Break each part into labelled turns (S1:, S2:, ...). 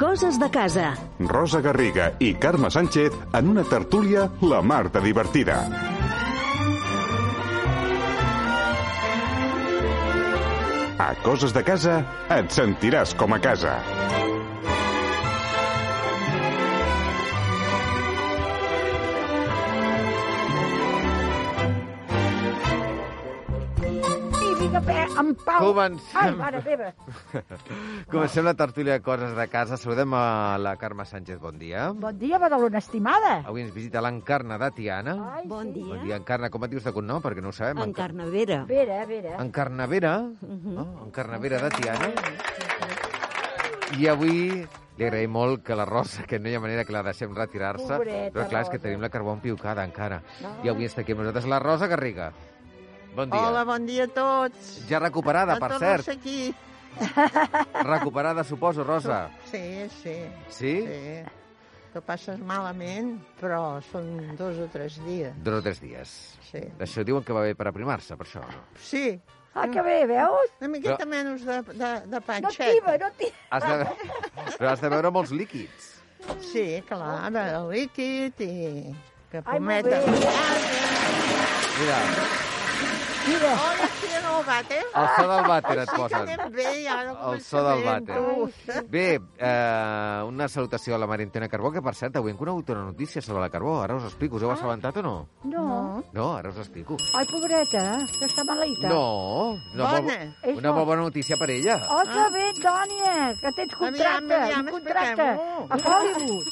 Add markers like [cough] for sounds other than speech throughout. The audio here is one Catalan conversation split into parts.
S1: Coses de casa.
S2: Rosa Garriga i Carme Sánchez en una tertúlia la mar de divertida. A Coses de Casa et sentiràs com a casa.
S3: Sí, vinga, pe, en pau.
S4: Comencem.
S3: Ai, mare meva.
S4: [laughs] Comencem la tertúlia de coses de casa. Saludem a la Carme Sánchez, bon dia.
S3: Bon dia, Badalona estimada.
S4: Avui ens visita l'Encarna de Tiana.
S3: Ai,
S5: Bon
S3: sí.
S5: dia.
S4: Bon dia, Encarna. Com et dius de cognom? Perquè no ho sabem.
S5: En Carnavera.
S3: Vera, Vera.
S4: Encarnavera.
S3: Mhm.
S4: no? Encarnavera de Tiana. I avui li agraïm molt que la Rosa, que no hi ha manera que la deixem retirar-se,
S3: Pobreta
S4: però clar, és que
S3: Rosa.
S4: tenim la carbó empiucada encara. I avui està aquí amb nosaltres la Rosa Garriga. Bon dia.
S6: Hola, bon dia a tots.
S4: Ja recuperada, per
S6: a
S4: cert.
S6: aquí.
S4: Recuperada, suposo, Rosa.
S6: Sí, sí,
S4: Sí?
S6: sí. Que passes malament, però són dos o tres dies.
S4: Dos o tres dies.
S6: Sí,
S4: Això diuen que va bé per aprimar-se, per això. No?
S6: sí
S3: Ah, que bé, veus?
S6: una miqueta menys de, de, de
S3: No
S6: panxeta.
S3: tiba, no tiba.
S4: Has de... [laughs] Però has de beure molts líquids.
S6: Sí, clar, de líquid i que
S3: Ai, molt
S6: pometa.
S3: bé.
S4: Mira,
S3: Mira,
S6: Hola, sí, no, bate.
S4: el so del vàter et
S6: Sí que
S4: posen.
S6: anem bé, i ara
S4: El so del
S6: començament,
S4: vàter.
S6: tu.
S4: Bé, eh, una salutació a la Marintena Carbó, que per cert, avui hem conegut una notícia sobre la Carbó. Ara us explico, us heu assabentat o no?
S3: Ah. no.
S4: No, ara us explico.
S3: Ai, pobreta, que està maleïta.
S4: No, una, molt,
S6: Bona.
S4: bo- una molt bona notícia per ella.
S3: Oh, que bé, Dònia, que tens contracte,
S6: aviam,
S3: un contracte
S6: expliquem-ho.
S3: a Hollywood.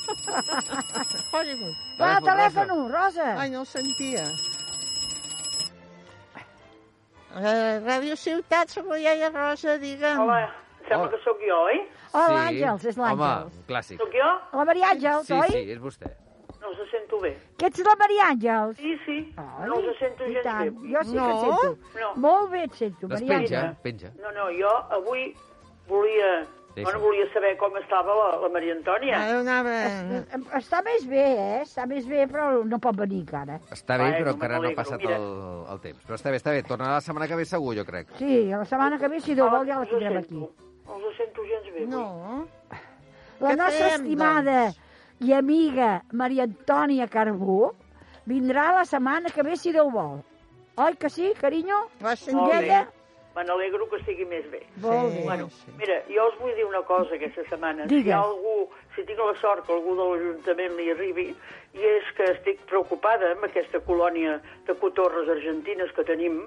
S6: [laughs] Hollywood.
S3: Va,
S4: Telèfon,
S3: telèfon, Rosa.
S6: Ai, no el sentia. Eh, Ràdio Ciutat, soc la iaia Rosa, digue'm.
S7: Hola, sembla
S4: Hola.
S7: que sóc jo, oi?
S3: Oh, l'Àngels, és l'Àngels.
S4: Home, un clàssic.
S7: Sóc jo?
S3: La Maria Àngels,
S4: Sí,
S3: oi?
S4: sí, és vostè.
S7: No us sento bé.
S3: Que ets la Maria Àngels?
S7: Sí, sí, no us sento
S3: i
S7: gens
S3: tant.
S7: bé.
S3: Jo sí que et
S6: No?
S3: sento.
S7: No.
S3: Molt bé et sento,
S4: Doncs
S3: Maria
S4: penja,
S3: Àngels.
S4: penja.
S7: No, no, jo avui volia...
S4: Deixa.
S7: Bueno, volia saber com estava la, la Maria Antònia.
S6: Ara anava...
S3: Està més bé, eh? Està més bé, però no pot venir encara.
S4: Està bé,
S7: Ai,
S4: però
S7: eh, com
S4: encara no ha
S7: m'alegro,
S4: passat
S7: mira.
S4: el, el temps. Però està bé, està bé. Tornarà la setmana que ve segur, jo crec.
S3: Sí, la setmana que ve, si Déu
S7: Hola,
S3: vol, ja la
S7: no us
S3: tindrem aquí.
S7: sento. No us sento gens bé.
S6: No.
S7: avui.
S3: La
S6: Què
S3: nostra
S6: fem,
S3: estimada i amiga Maria Antònia Carbó vindrà la setmana que ve, si Déu vol. Oi que sí, carinyo?
S6: Va sentir...
S7: Molt bé.
S3: Mireia?
S7: Me n'alegro que estigui més bé.
S3: Molt bé.
S7: Bueno, mira, jo us vull dir una cosa aquesta setmana. Si
S3: Digues.
S7: hi ha algú, si tinc la sort que algú de l'Ajuntament li arribi, i és que estic preocupada amb aquesta colònia de cotorres argentines que tenim,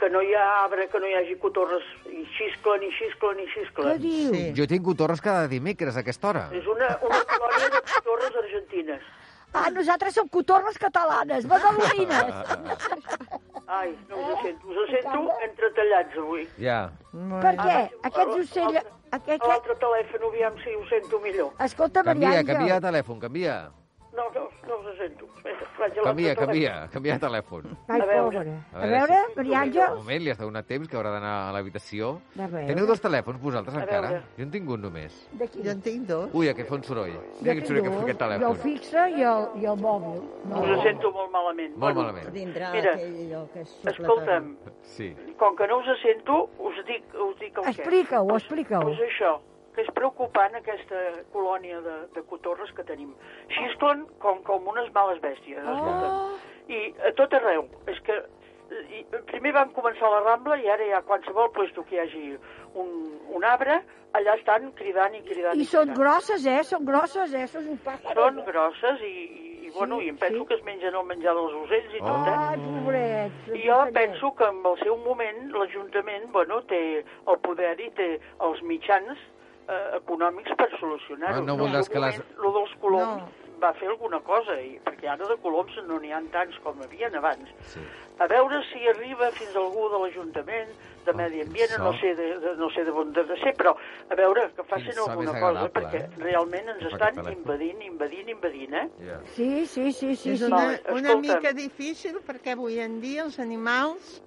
S7: que no hi ha arbre, que no hi hagi cotorres, i xisclen, i xisclen, i
S3: Què
S7: xisclen.
S3: diu?
S6: Sí.
S4: Jo tinc cotorres cada dimecres a aquesta hora.
S7: És una, una colònia de cotorres argentines.
S3: Ah, nosaltres som cotorres catalanes,
S7: Ah,
S3: badalonines.
S7: Ai, no us sento, us sento entretallats avui.
S4: Ja.
S3: per què? Aquests ocells...
S7: L'altre-
S3: Aquest,
S7: A l'altre telèfon, aviam si ho sento millor.
S3: Escolta, Maria
S4: Canvia,
S3: Àngels.
S4: canvia de telèfon, canvia.
S7: No, no, no us sento. Vaig a l'altre
S4: Canvia,
S7: telèfon.
S4: canvia, canvia de telèfon.
S3: Ai,
S7: A veure.
S3: pobra.
S4: ah. A
S3: A
S4: veure,
S3: veure,
S4: sí.
S3: Maria
S4: Un
S3: Àngels.
S4: moment, li has donat temps, que haurà d'anar a l'habitació.
S3: A veure.
S4: Teniu dos telèfons, vosaltres,
S7: A
S4: encara?
S7: veure.
S4: Jo en tinc un només.
S3: D'aquí.
S6: Jo en tinc dos.
S4: Ui, aquest fa un soroll.
S3: Jo
S4: Mira quin soroll que fa aquest
S3: jo el
S4: telèfon.
S3: fixe i el, i el mòbil. No.
S7: Us sento molt malament.
S4: Molt malament.
S5: Tindrà
S7: Mira,
S5: aquell allò que és
S7: Escolta'm,
S4: Sí.
S7: com que no us sento, us dic, us dic el què.
S3: Explica-ho, explica-ho.
S7: Doncs això, que és preocupant aquesta colònia de, de cotorres que tenim. Xisclen com, com unes males bèsties,
S3: Ah.
S7: oh. escolta'm. I a tot arreu. És que i, primer vam començar a la Rambla i ara hi ha qualsevol lloc que hi hagi un, un arbre, allà estan cridant i cridant.
S3: I són
S7: cridant.
S3: grosses, eh? Són grosses, eh? Són un pàcar.
S7: Són grosses i, i, i bueno, i em penso que es mengen el menjar dels ocells i
S6: Ah,
S7: tot, eh?
S3: Ai, pobret.
S7: I Jo penso que en el seu moment l'Ajuntament bueno, té el poder i té els mitjans eh, econòmics per solucionar-ho.
S4: Ah, no
S7: En el
S4: voldràs
S7: seu
S4: que les-
S7: moment, Lo dels coloms no. va fer alguna cosa, i, perquè ara de coloms no n'hi han tants com hi havia abans.
S4: Sí.
S7: A veure si arriba fins algú de l'Ajuntament, de Medi Ambient,
S4: Oh, quin so.
S7: no sé de, de, no sé de on de ser, però a veure que facin
S4: Quin so
S7: alguna
S4: més
S7: cosa,
S4: agradable,
S7: perquè
S4: eh?
S7: realment ens
S4: Aquest
S7: estan
S4: telèfon.
S7: invadint, invadint, invadint, eh?
S4: Ja.
S3: Sí, sí, sí, sí.
S6: És
S3: sí.
S6: una,
S7: Vale,
S6: Eh, una
S7: escolta'm.
S6: mica difícil perquè avui en dia els animals,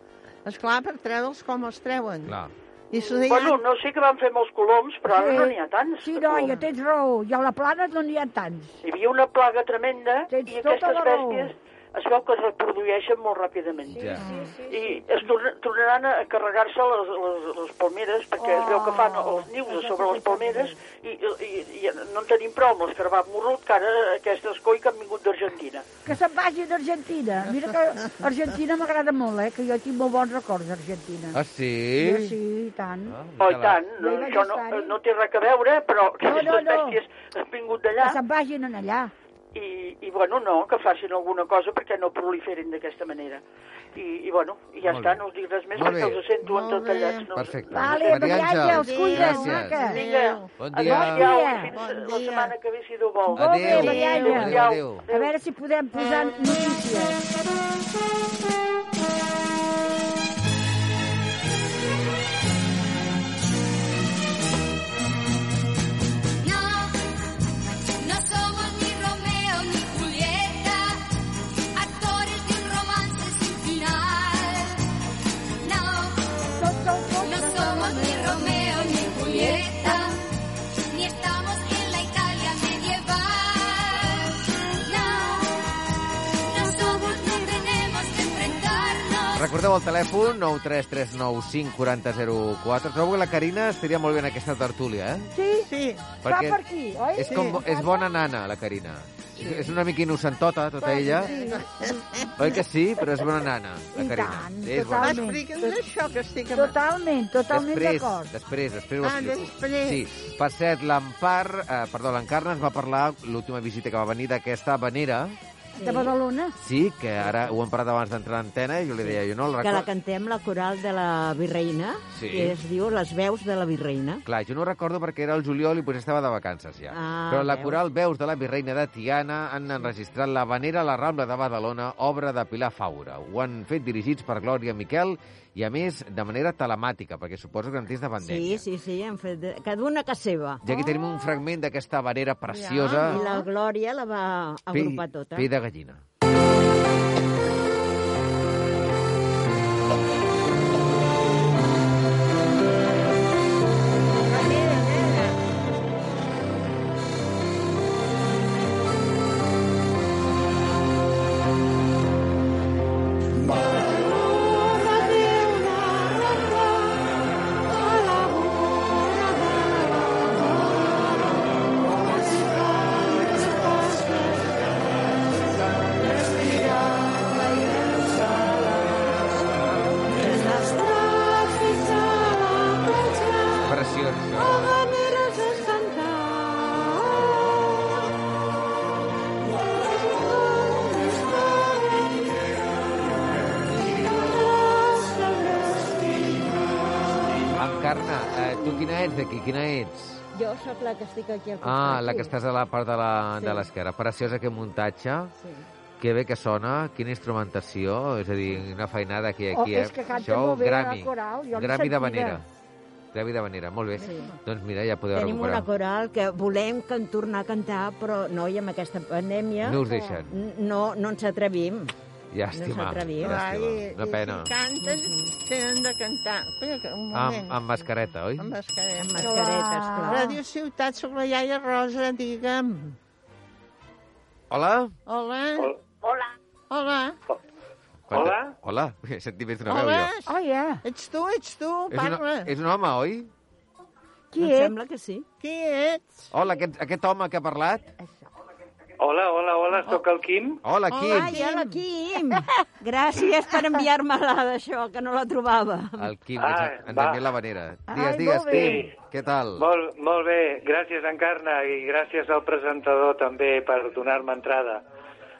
S6: és clar per treure'ls com els treuen.
S4: Clar.
S6: I se n'hi ha...
S7: Bueno, no sé que van fer molts coloms, però ara no n'hi ha tants.
S3: Sí,
S7: de
S3: noia,
S7: coloms.
S3: tens raó. I a la plana no n'hi ha tants.
S7: Hi havia una plaga tremenda
S3: Tens
S7: i
S3: tota
S7: aquestes
S3: la raó.
S7: bèsties es veu que es reprodueixen molt ràpidament.
S4: Ja.
S7: I es torna- tornaran a carregar-se les, les, les palmeres, perquè es veu que fan
S3: Oh,
S7: els nius a sobre les palmeres i, i, i no en tenim prou amb els que va morrut, que ara aquestes coi que han vingut d'Argentina.
S3: Que se'n vagin d'Argentina. Mira que Argentina m'agrada molt, eh? Que jo tinc molt bons records d'Argentina.
S4: Ah, sí?
S3: Jo sí, i tant.
S4: Ah,
S7: Oh, i
S4: mira-la.
S7: tant, no,
S3: Jo hi vaig
S7: això no,
S3: estar-hi.
S7: no té res a veure, però
S3: no,
S7: aquestes
S3: no.
S7: bèsties han vingut d'allà
S3: Que se'n vagin en allà.
S7: i, i, bueno, no, que facin alguna cosa perquè no proliferin d'aquesta manera. I, I, bueno, i ja
S4: Molt
S7: està,
S4: bé.
S7: no us dic res més
S4: Molt
S7: perquè
S4: bé.
S7: us sento
S6: Molt
S7: entretallats.
S6: bé.
S7: No,
S4: Perfecte.
S3: Vale,
S4: Maria
S3: Maria
S4: Àngels,
S3: Àngels, cuida't,
S4: gràcies.
S3: maca.
S6: Adéu.
S4: Bon
S7: Bon
S4: dia.
S7: dia.
S3: dia.
S7: Fins
S6: Bon
S7: la
S6: dia.
S7: setmana que ve, si Déu vol.
S3: Molt bé,
S4: Adéu.
S3: Maria
S6: Adéu,
S3: Àngels.
S4: adéu, adéu.
S3: A veure si podem posar notícies.
S1: No, no somos ni Romeo ni Julieta, actores de un romance sin final. No,
S3: Tots els
S1: no
S3: dos
S1: somos ni Romeo ni Julieta, ni estamos en la Italia medieval. No, nosotros no tenemos que enfrentarnos.
S4: Recordeu el telèfon 933954004. Trobo que la Carina estaria molt bé en aquesta tertúlia, eh?
S3: Sí,
S6: Sí,
S3: va per aquí, oi?
S4: És, com, és bona nana, la Carina. Sí. És una mica innocentota, tota ella. Oi que sí? Però és bona nana, la
S3: I
S4: Carina.
S3: tant,
S6: va,
S4: és bona.
S3: totalment.
S6: explica'ns això que estic... amb-
S3: Totalment, totalment
S4: Després,
S3: d'acord.
S4: després, després ho
S6: Ah,
S4: explico.
S6: després.
S4: Sí. Per cert, l'Empar, eh, perdó, l'Encarna ens va parlar l'última visita que va venir d'aquesta habanera,
S3: De Badalona.
S4: sí, que ara ho hem parat abans d'entrar en antena, i jo li deia, jo no el
S5: Que la
S4: recordo...
S5: cantem la coral de la Virreina,
S4: Sí.
S5: que es diu Les veus de la Virreina.
S4: Clar, jo no recordo perquè era el juliol i potser estava de vacances ja.
S5: Ah,
S4: Però la
S5: veus.
S4: coral Veus de la Virreina de Tiana han enregistrat la Vanera a la Rambla de Badalona, obra de Pilar Faura. Ho han fet dirigits per Glòria Miquel i, a més, de manera telemàtica, perquè suposo que en temps de
S5: Sí,
S4: pandèmia.
S5: sí, sí, hem fet... de- Cada una que seva. Ah.
S4: I aquí tenim un fragment d'aquesta vanera preciosa.
S5: I la Glòria la va agrupar tota.
S4: Pell de gallina. Preciós. Encarna, eh, tu quina ets d'aquí? Quina ets?
S5: Jo sóc la que estic aquí al costat.
S4: Ah, la que estàs a la part de la- de
S5: Sí.
S4: l'esquerra. Preciós aquest muntatge.
S5: Sí.
S4: Que bé que sona, quina instrumentació, és a dir, una feinada aquí i
S3: Oh,
S4: aquí, eh?
S3: és que canta molt bé la coral, jo l'he
S4: Grammy
S3: sentida.
S4: de Vanera. Grammy de Vanera, molt bé.
S5: Sí.
S4: Doncs mira, ja podeu
S5: Tenim una
S4: recuperar.
S5: coral que volem can tornar a cantar, però noi, amb aquesta pandèmia
S4: No us deixen.
S5: n- no, no ens atrevim.
S4: Llàstima.
S5: s'atrevia.
S6: Clar,
S4: Llàstima.
S6: i-
S4: Una
S6: i
S4: pena.
S6: Si canten, tenen de cantar. Espera, que un moment.
S4: Amb, amb mascareta, oi?
S6: Amb mascareta.
S5: Amb mascaretes,
S3: va.
S5: clar.
S6: Ràdio Ciutat, sóc la iaia Rosa, digue'm.
S4: Hola?
S6: Hola?
S7: Hola.
S6: Hola?
S4: Hola? Hola? [laughs] He sentit més d'una veu,
S6: Hola?
S4: jo.
S3: Oh, yeah.
S6: Ets tu, ets tu,
S4: És, una,
S6: parla.
S4: és un home, oi?
S3: Qui
S5: Em
S3: ets?
S5: sembla que sí.
S6: Qui ets?
S4: Hola, aquest, aquest home que ha parlat?
S8: Hola, hola,
S3: Oh.
S8: hola, sóc el Quim.
S4: Hola, Quim.
S5: Ai, hola, Quim! Gràcies per enviar-me-la d'això, que no la trobava.
S4: El Quim,
S8: Ah,
S4: ens, ens
S8: va.
S4: envia la vanera. Digues,
S3: Ai,
S4: digues,
S3: molt bé.
S4: Quim, què tal?
S8: Molt, molt bé, gràcies Encarna i gràcies al presentador també per donar-me entrada.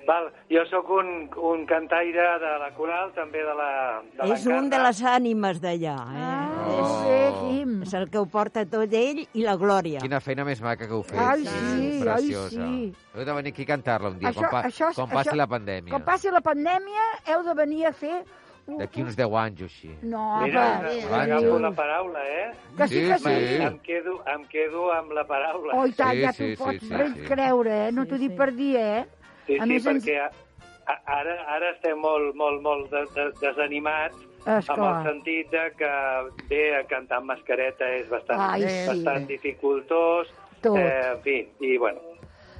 S8: Val, jo sóc un, un cantaire de la coral, també de la de
S5: És un de
S8: l'Encarna.
S5: les ànimes d'allà, eh?
S3: No sé, Quim.
S5: És el que ho porta tot ell i la Glòria.
S4: Quina feina més maca que heu fet.
S3: Ai, sí, ai,
S4: Preciosa.
S3: sí.
S4: Heu de venir aquí a cantar-la un dia,
S3: Això-
S4: quan, pa,
S3: això-
S4: quan passi
S3: això-
S4: la pandèmia.
S3: Quan passi la pandèmia, heu de venir a fer... un-
S4: D'aquí uns 10 anys o així.
S3: No,
S8: Mira,
S7: eh,
S3: home,
S8: us
S4: va,
S8: agafo
S4: Àngels.
S8: la paraula, eh?
S3: que sí, que sí.
S4: Sí.
S8: Em, quedo, em quedo amb la paraula.
S3: Oh, i tant,
S4: Sí,
S3: ja
S4: sí, sí,
S3: t'ho pots
S4: sí,
S3: ben
S4: sí.
S3: creure, eh? No
S5: Sí,
S3: t'ho dic
S5: sí.
S3: per dir, eh?
S8: Sí,
S3: A
S8: sí,
S3: més, ens-
S8: perquè a, a, ara, ara estem molt, molt, molt de, de, desanimats amb el
S3: Esclar.
S8: sentit de que bé, cantar amb mascareta és bastant,
S3: Ai,
S6: sí.
S8: bastant dificultós,
S3: Tot.
S8: Eh, en fi, i bueno,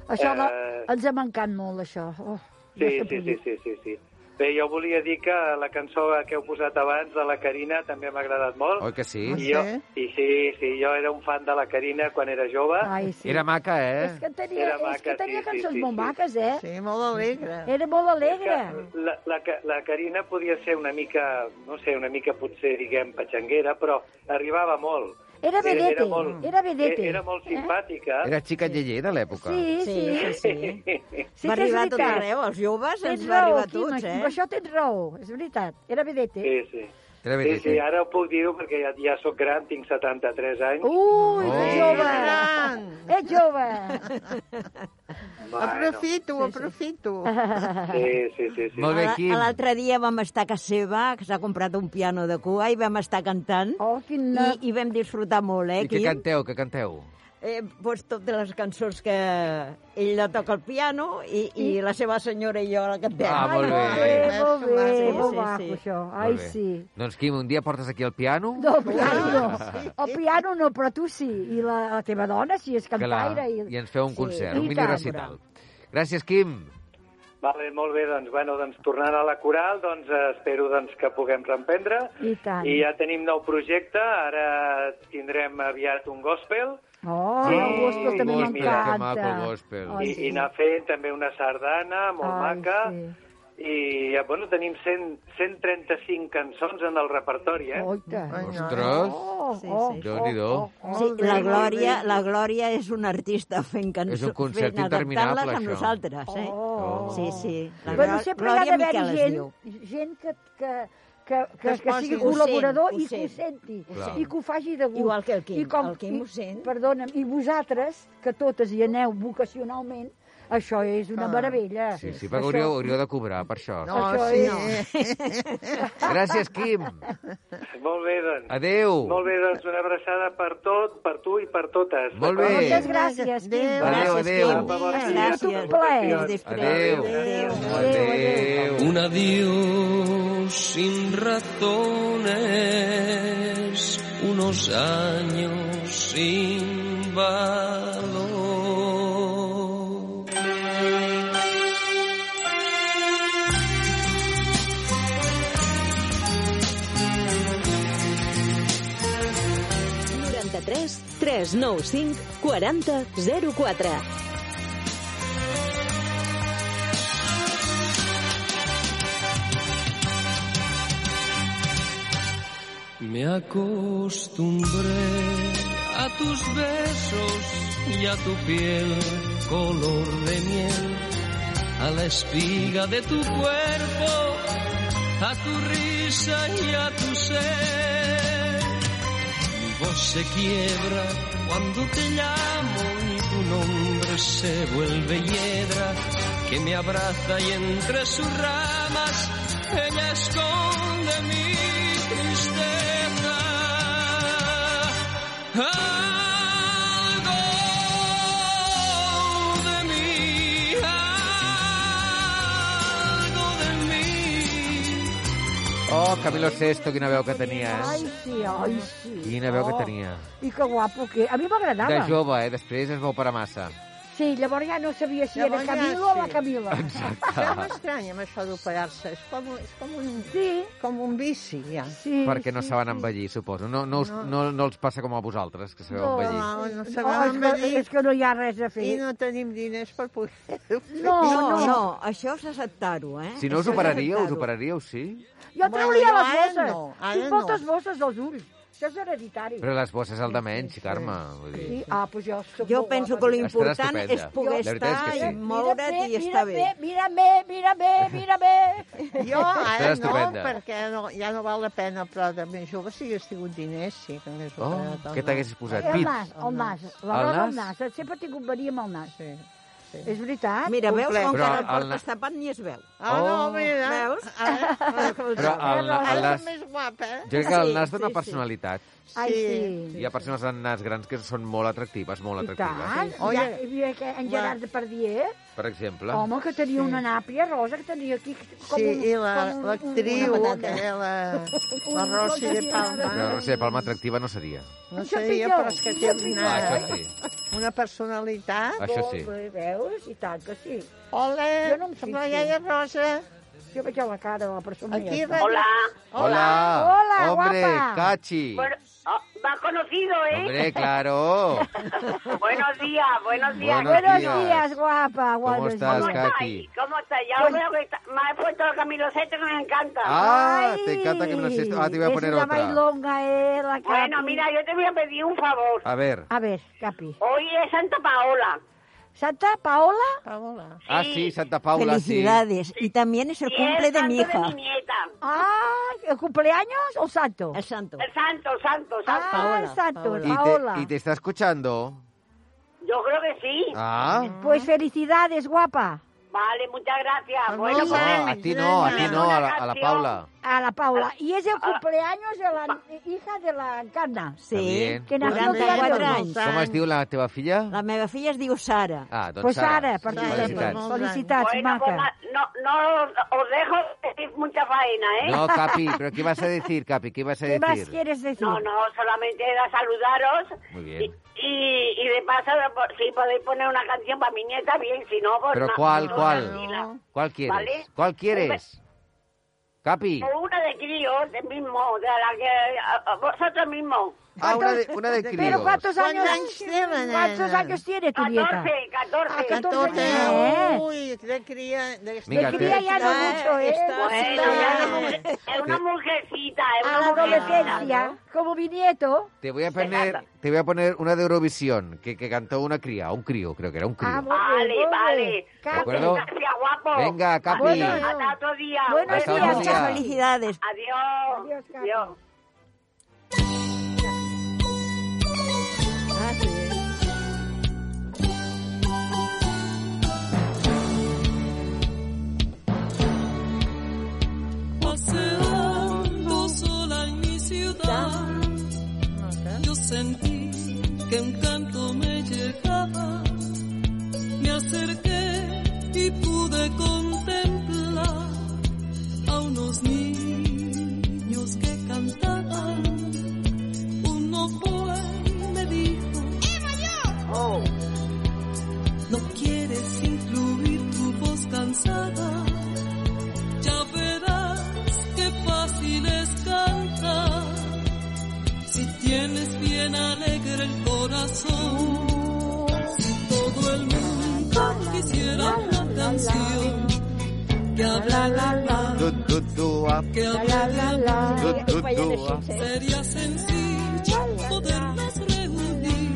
S3: Això de...
S8: eh,
S3: ens ha mancat molt, això. Oh, no
S8: Sí,
S3: s'ha
S8: sí, sí,
S3: pogut.
S8: sí, sí, sí. Bé, jo volia dir que la cançó que heu posat abans de la Carina també m'ha agradat molt.
S4: Oi que sí?
S3: Ah,
S6: Ui.
S8: I, jo,
S6: Sí?
S8: I sí, sí, jo era un fan de la Carina quan era jove.
S3: Ai, sí.
S4: Era maca,
S3: És
S4: eh?
S3: que tenia,
S8: Era maca,
S3: és que tenia
S8: sí, sí,
S3: cançons
S8: sí,
S3: molt
S8: sí.
S3: maques, eh?
S6: Sí, molt alegre.
S3: Era molt alegre.
S8: Que La, la, Ca- la Carina podia ser una mica, no sé, una mica potser, diguem, patxanguera, però arribava molt.
S3: Era vedete,
S8: Era, molt,
S3: era vedete.
S8: Era molt simpàtica.
S4: Era xica lleller de l'època.
S3: Sí, sí.
S5: Sí, sí, sí.
S8: Era...
S3: sí
S5: va
S3: que és
S5: arribar a tot
S3: veritat.
S5: arreu, els joves ens
S3: Tens
S5: va
S3: raó,
S5: arribar a
S3: aquí,
S5: tots,
S3: Maqui,
S5: eh?
S3: amb això tens raó, és veritat. Era vedete.
S8: Sí, sí.
S4: Era
S8: Sí,
S4: veritat.
S8: sí, ara ho puc dir perquè ja, ja sóc gran, tinc 73 anys.
S3: Ui,
S4: Oh.
S3: ets jove!
S6: Gran.
S3: Ets Eh, jove!
S5: [laughs]
S6: Aprofito,
S3: [laughs]
S6: aprofito.
S8: Sí, sí, sí. sí.
S4: Molt bé,
S5: A-
S4: Quim.
S5: a L'altre dia vam estar a casa seva, que s'ha comprat un piano de cua, i vam estar cantant.
S3: Oh, quin...
S5: I, I vam disfrutar molt, eh,
S4: I què
S5: Quim?
S4: canteu, què canteu?
S5: Eh, doncs totes les cançons que ell la toca al piano i, i, la seva senyora i jo la cantem.
S4: Ah, molt bé.
S3: Molt bé, molt bé,
S6: Sí,
S5: sí,
S3: molt
S5: sí.
S3: maco, això. Ai,
S4: Molt bé.
S3: sí.
S4: Doncs, Quim, un dia portes aquí el piano?
S3: No,
S5: Ah,
S3: el piano. El piano no, però tu sí. I la, la teva dona, si és cantaire.
S4: i... I ens feu un concert,
S3: I
S4: un mini
S3: tant.
S4: recital. [laughs] Gràcies, Quim.
S8: Vale, molt bé, doncs, bueno, doncs tornant a la coral, doncs eh, espero doncs, que puguem reprendre.
S3: I tant.
S8: I ja tenim nou projecte, ara tindrem aviat un gospel
S3: Oh,
S8: Sí,
S3: el gospel també
S8: gospel,
S3: m'encanta.
S4: que maco el gospel.
S3: Ai,
S8: i, i anar fent també una sardana molt
S3: Ai,
S8: maca.
S3: sí.
S8: I, eh, bueno, tenim 100, 135 cançons en el repertori, eh?
S3: Oita.
S6: Ai, no.
S4: Ostres,
S3: Oh,
S5: Sí,
S3: oh,
S5: sí.
S4: Déu-n'hi-do.
S5: Sí, la Glòria, la Glòria és una artista fent cançons.
S4: És un concert
S5: fent-
S4: interminable,
S5: adaptant-les
S4: això.
S5: amb nosaltres, eh?
S3: Oh.
S5: Sí, sí. La
S3: Bueno,
S5: Glò-
S3: sempre hi ha
S5: Glòria
S3: d'haver
S5: Miquel es
S3: gent,
S5: diu.
S3: gent que, que, que, que,
S6: es
S3: que
S6: posi,
S3: sigui
S6: ho
S3: col·laborador
S5: sent, ho
S3: i que ho senti,
S4: Clar.
S3: i que ho faci de gust.
S5: Igual que el Quim.
S3: I com,
S5: El Quim ho
S3: I,
S5: sent.
S3: perdona'm, i vosaltres, que totes hi aneu vocacionalment, això és
S5: Ah.
S3: una meravella.
S4: Sí, sí, perquè hauríeu, hauríeu de cobrar per això.
S6: No,
S3: Això
S6: sí,
S3: és-
S4: Gràcies, Quim.
S3: [laughs] oh.
S8: Molt bé, doncs.
S4: Adéu.
S8: Molt bé, doncs una abraçada per tot, per tu i per totes.
S4: Molt
S8: d'acord?
S4: bé.
S3: Moltes gràcies, Quim.
S6: Adéu.
S4: Adéu,
S5: Gràcies,
S4: adéu.
S5: Quim.
S8: Bon dia.
S5: Gràcies.
S3: Un plaer.
S5: Fins després.
S4: Adéu.
S5: Adéu.
S4: Adéu.
S9: Un adiós sin razones, unos años sin valor. Me acostumbré a tus besos y a tu piel color de miel, a la espiga de tu cuerpo, a tu risa y a tu ser. Mi voz se quiebra cuando te llamo y tu nombre se vuelve hiedra que me abraza y entre sus ramas ella esconde mi tristeza. Algo de mí, algo de mí
S4: Oh, Camilo Sesto, quina veu que tenia,
S3: Ai,
S4: eh?
S3: sí, ai, sí. Oh,
S4: Quina veu que tenia.
S3: I que guapo que... A mi
S4: De
S3: m'agradava.
S4: jove, eh? Després es va operar massa.
S3: Sí, llavors ja no sabia si
S6: Llavors
S3: era
S6: ja
S3: Camilo o la
S6: sí.
S3: Camila.
S6: Això m'estranya, amb això d'operar-se. És, com, és com, un,
S3: Sí,
S6: com un vici, ja.
S3: sí.
S4: Perquè no saben envellir, suposo. No, no, us, no, no els passa com a vosaltres, que sabeu
S3: No,
S6: No,
S4: envellir.
S6: no
S3: Oh, és,
S6: sabem
S3: que,
S6: venir
S3: és que no hi ha res a fer.
S6: i no tenim diners per poder-ho fer.
S3: No,
S5: No,
S3: no,
S5: no, Oh, això és acceptar-ho, eh?
S4: Si no us
S5: Això és
S4: operaríeu, us
S5: acceptar-ho.
S4: operaríeu, sí?
S3: Jo
S6: Bueno,
S3: trauria
S6: jo
S3: les
S6: ara
S3: bosses.
S6: no, ara
S3: Tinc moltes
S6: no.
S3: bosses als ulls. Això és hereditari.
S4: Però les bosses al de menys, Carme. Vull dir.
S3: Sí? Ah, doncs jo soc
S5: Jo
S3: molt
S5: penso que
S3: guapa.
S5: l'important
S4: Estarà
S5: és
S4: estupenda.
S5: poder
S4: La
S5: estar
S4: veritat és que
S5: i
S4: sí.
S5: moure't i estar bé.
S3: Mira bé, mira bé, mira bé, mira bé.
S6: Jo ara
S4: Serà
S6: no,
S4: estupenda.
S6: perquè no, ja no val la pena, però de més jove si hagués tingut diners, sí que hagués
S4: Oh,
S6: operat. el
S4: què
S6: nas.
S4: t'haguessis posat?
S3: El nas,
S4: Pits.
S3: el nas. La
S4: El
S3: roba al
S4: nas?
S3: nas. Sempre he tingut verí amb el nas.
S6: Sí, sí.
S3: És veritat?
S5: Mira, veus
S6: Complet.
S5: com que
S4: Però
S5: el
S4: el-
S5: portes tapat ni es veu.
S6: Ah, oh,
S4: Oh.
S6: no, mira.
S5: Veus?
S6: Ara,
S4: Però el,
S6: ara
S4: el
S6: és
S4: nas...
S6: més guapa, eh?
S4: Jo crec que el
S5: Sí,
S4: nas dona
S5: sí, sí.
S4: personalitat.
S3: Ai, sí.
S4: Hi ha persones amb nas grans que són molt atractives, molt
S3: I tant.
S4: atractives.
S3: Ja,
S6: Oye.
S3: hi havia que- en Gerard Depardieu
S4: per exemple.
S3: Home, que tenia sí. una nàpia rosa que tenia aquí com
S6: Sí,
S3: un...
S6: i la-
S3: com un-
S6: l'actriu,
S3: una patata.
S6: que la,
S3: [laughs]
S6: la
S3: Un-
S6: Rossi de
S4: Però
S6: Palma,
S4: no sé, Palma atractiva no seria.
S6: no
S3: Això
S6: sé,
S3: sí,
S6: jo,
S3: jo.
S6: però és que té
S3: Això sí,
S6: una,
S4: Ah, això sí,
S6: una personalitat.
S4: això sí.
S3: Bé, eh, veus? I tant que sí.
S6: Hola,
S3: Jo no em
S6: sóc la
S3: fixo.
S6: iaia Rosa.
S3: Jo veig a la cara de la persona.
S6: Aquí
S3: aquesta.
S6: va...
S10: Hola.
S4: Hola,
S3: Hola,
S4: hombre,
S3: guapa.
S4: Cachi.
S10: Bueno, ah, me ha conocido, ¿eh?
S4: Hombre,
S3: [laughs]
S4: claro.
S10: [laughs] buenos días, buenos días.
S4: Buenos
S3: Buenos
S4: días.
S3: días, guapa.
S4: ¿Cómo
S3: buenos
S4: estás,
S3: días.
S4: Katy?
S10: ¿Cómo estáis? Ya
S3: Pues-
S10: veo que está- me ha puesto el caminosete que me encanta.
S4: Ah,
S3: Ay,
S4: te encanta que me lo estés... Ah, te voy a poner
S3: es una
S4: otra.
S3: bailonga, eh, la Capi.
S10: bueno, mira, yo te voy a pedir un favor.
S4: A ver.
S3: A ver, Capi.
S10: Hoy es Santa Paola.
S3: Santa Paola?
S6: Hola.
S4: Ah, sí, Santa Paula, sí.
S5: Felicidades. Y también es el
S10: Y
S5: cumple
S10: es
S5: de
S10: santo
S5: mi
S10: de
S5: hija.
S10: mi nieta.
S3: Ah, ¿el cumpleaños o santo?
S5: El santo.
S10: El santo, santo, santo.
S3: ah,
S6: Paola,
S3: el santo,
S6: Paola.
S4: ¿Y
S3: el Paola.
S4: te, ¿Y te está escuchando?
S10: Yo creo que sí.
S4: Ah.
S3: Pues felicidades, guapa.
S10: Vale, muchas gracias.
S6: Ah,
S10: Bueno,
S6: no,
S4: No,
S10: pues,
S6: Ay,
S4: a ti no, a ti no, a la, a la Paula.
S3: A la Paula. Y es el cumpleaños de la hija de la Encarna.
S5: Sí.
S4: También.
S3: Que nació
S5: 44
S3: cada
S5: anys.
S3: dos.
S4: Com es diu la teva filla?
S5: La meva filla es diu Sara.
S4: Ah, doncs
S3: Pues ara, per doncs,
S6: Sara,
S4: Felicitats.
S6: no.
S3: Felicitats,
S10: bueno, pues,
S3: maca.
S10: no, no os, os dejo decir mucha faena, ¿eh?
S4: No,
S10: [laughs]
S4: Capi, pero ¿qué vas a decir, Capi? ¿Qué vas a
S3: ¿Qué más
S4: decir?
S3: quieres decir?
S10: No, no, solamente era saludaros.
S4: Muy bien.
S10: Y, y, y de paso, po- si podéis poner una canción para mi nieta, bien, si no, pues.
S4: Pero
S10: ma-
S4: ¿cuál,
S10: no,
S4: cuál?
S10: tranquila.
S4: ¿Cuál quieres?
S10: Vale.
S4: ¿Cuál quieres? Capi.
S10: O una de críos, de mismo, de la que. a- a vosotros mismos.
S4: Ah, una de, una de
S3: Pero
S4: críos.
S3: ¿cuántos
S6: ¿Cuántos
S3: años,
S6: años tiene, nena?
S3: ¿Cuántos años tiene tu nieta?
S10: 14, 14.
S3: Ah,
S6: 14.
S3: Eh.
S6: Uy, de cría... De,
S4: Mira,
S3: De cría ya no
S6: Ah,
S3: mucho, ¿eh?
S6: está-
S10: Bueno, ya no, es una mujercita, es
S3: A la
S10: una mujercita.
S3: adolescencia, Ah, como mi nieto.
S4: Te voy a poner,
S10: Fernanda.
S4: te voy a poner una de Eurovisión que, que cantó una cría, un crío, creo que era un
S3: Ah,
S4: crío.
S3: muy
S10: Vale,
S3: bien, muy
S10: vale.
S3: bien.
S4: ¿De
S3: Capi,
S4: acuerdo?
S10: Gracias, guapo.
S4: Venga, Capi.
S3: Bueno,
S10: Hasta otro día.
S3: Buenos
S4: Hasta
S3: días,
S4: otro
S3: Muchas
S5: Muchas
S4: día.
S5: felicidades.
S10: Adiós.
S3: Adiós, Capi.
S10: Adiós.
S3: Ah,
S11: Paseando sola en mi ciudad, yo sentí que un canto me llegaba. Me acerqué y pude contemplar a unos niños que cantaban. Uno fue y me dijo: No quieres incluir tu voz cansada. Ya verás qué fácil es cantar. Si tienes bien alegre el corazón, si todo el mundo quisiera una canción que habla la la,
S4: Du, du, du, ah,
S11: que habla la la,
S4: du, du, du, ah.
S11: sería sencillo poderlas reunir.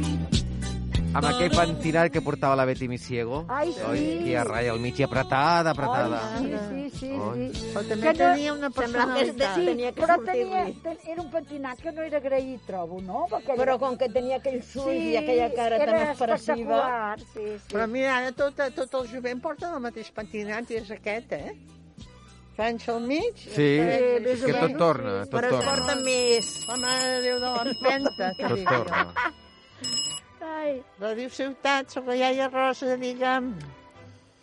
S4: Amb aquell pentinat que portava la Betty Misiego.
S3: Ai, sí.
S4: Aquí a ratlla al mig i apretada, apretada.
S3: Ai, sí, sí, sí, sí.
S6: Però
S3: Que
S6: també
S3: no-
S6: tenia una
S5: Semblava que
S6: personalitat.
S5: sí.
S3: Sí,
S5: Tenia que
S3: però
S5: sortir-li.
S3: tenia, ten, era un pentinat que no era agraït, trobo, no? Perquè era-
S5: Però com que tenia aquells ulls i aquella cara
S3: era
S5: tan expressiva...
S3: espectacular, Sí, sí.
S6: Però mira, ara tot, tot el jovent porta el mateix pentinat i és aquest, eh? Franxa al mig.
S4: Sí,
S6: després-
S4: és que tot torna, tot
S5: Però es
S4: torna.
S5: porta més...
S6: La mare de Déu de l'empenta.
S4: Tot torna.
S3: Ai,
S6: Ràdio Ciutat, soc la iaia Rosa, digue'm.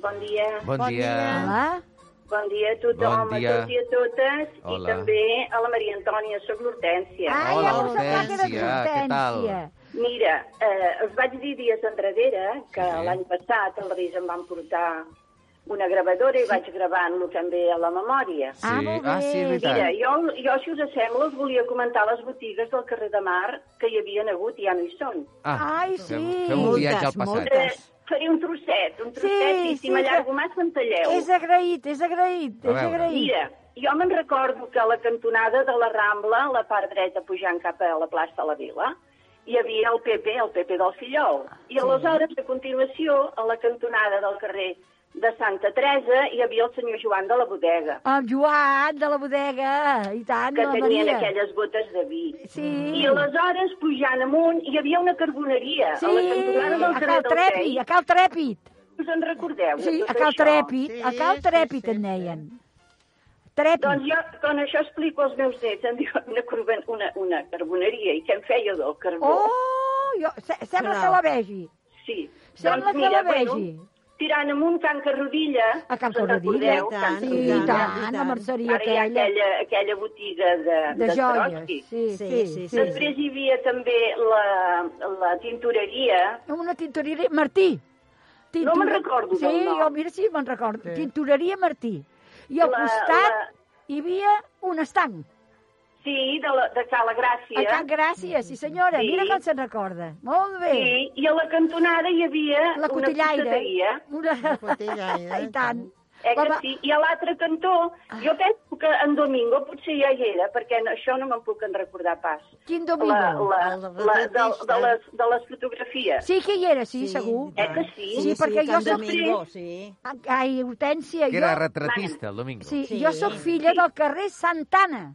S10: Bon dia.
S4: Bon
S6: Bon
S4: dia.
S6: dia.
S3: hola.
S10: Bon dia a tothom,
S4: Bon
S10: bon
S4: dia.
S10: dia. a tots i a totes,
S4: Hola.
S10: i també a la Maria Antònia, soc l'Hortència.
S3: Ai,
S4: Hola,
S3: Ah, ja m'ho semblava que era
S4: Hortènsia, què tal?
S3: Hortènsia.
S10: Mira, eh, els vaig dir dies enrere que
S4: Sí.
S10: sí. l'any passat els Reis em van portar una gravadora i vaig gravant-lo també a la memòria.
S4: Sí.
S3: Ah, molt
S4: Ah, sí, és
S3: bé.
S10: Mira,
S4: veritat.
S10: jo, jo, si us sembla, us volia comentar les botigues del carrer de Mar que hi havien hagut i ja no hi són.
S1: 啊
S4: Ah,
S3: Ai, sí.
S4: fem, fem un viatge al
S5: Moltes,
S4: passat.
S5: moltes.
S10: Eh, faré un trosset, un trosset,
S3: Sí,
S10: i si
S3: sí, que-
S10: m'allargo massa em talleu.
S3: És agraït, és agraït,
S4: A
S3: és
S4: veure.
S3: agraït.
S10: Mira, jo me'n recordo que a la cantonada de la Rambla, la part dreta pujant cap a la plaça de la Vila, hi havia el PP, el PP del Fillol. I aleshores, a continuació, a la cantonada del carrer de Santa Teresa, hi havia el senyor Joan de la Bodega,
S3: El Joan de la bodega, i tant,
S10: que
S3: la
S10: tenien
S3: Maria.
S10: aquelles botes de vi.
S3: Sí.
S10: I aleshores, pujant amunt, hi havia una carboneria
S3: Sí,
S10: a la cantonada
S3: a
S10: del carrer
S3: Cal
S10: del
S3: Trèpid, a
S10: Tei.
S3: Cal Trèpid.
S10: Us en recordeu? de
S3: Sí,
S10: tot
S3: a Cal
S10: això?
S3: Trèpid, a
S6: Sí,
S3: Cal
S6: sí,
S3: Trèpid
S6: sí,
S3: en
S6: sí.
S3: deien. Trèpid.
S10: Doncs jo, quan això explico als meus nets, em diuen una, corben- una, una carboneria, i què en feia del carbó?
S3: Oh, jo, se, sembla
S5: Clar.
S3: que la vegi.
S10: Sí. Doncs
S3: Sembla que la vegi.
S10: Bueno, inspirant amb un tancarrodilla.
S3: A Can
S10: Se'n
S3: Corradilla.
S10: recordeu?
S3: Sí, i
S10: Cancarrodilla.
S3: tant, la merceria
S10: Ara hi ha
S3: aquella.
S10: aquella, aquella botiga de,
S3: De
S10: de
S3: joies,
S10: Swarovski.
S3: sí, Sí, sí, sí, sí.
S10: Després hi havia també la, la tintoreria.
S3: Una tintoreria... Martí.
S10: No me'n recordo
S3: Sí,
S10: del nom.
S3: jo, mira si me'n recordo. Sí. Tintoreria Martí. I al
S10: La-
S3: costat
S10: la-
S3: hi havia un estanc.
S10: Sí, de, la, de Cala Gràcia.
S3: A Can Gràcia, sí senyora,
S10: Sí.
S3: mira com se'n recorda. Molt bé.
S10: Sí, i a la cantonada hi havia
S3: La
S10: una
S3: cotillaire.
S10: costeria.
S3: Una... La cotillaire. [laughs] I tant. Ah.
S10: Eh que
S3: Va, va.
S10: sí? I a l'altre cantó, jo penso que en Domingo potser ja hi era, perquè no- això no me'n puc en recordar pas.
S3: Quin Domingo?
S10: La, la,
S3: El
S10: la, de,
S3: retratista.
S10: de, les, de les fotografies.
S3: Sí que hi era, sí, segur.
S10: Eh que sí?
S3: Sí, perquè jo soc...
S5: sí.
S3: Ai, Hortènsia,
S4: Que
S3: jo...
S4: era retratista, el Domingo.
S3: Sí, jo sóc filla del carrer Santana.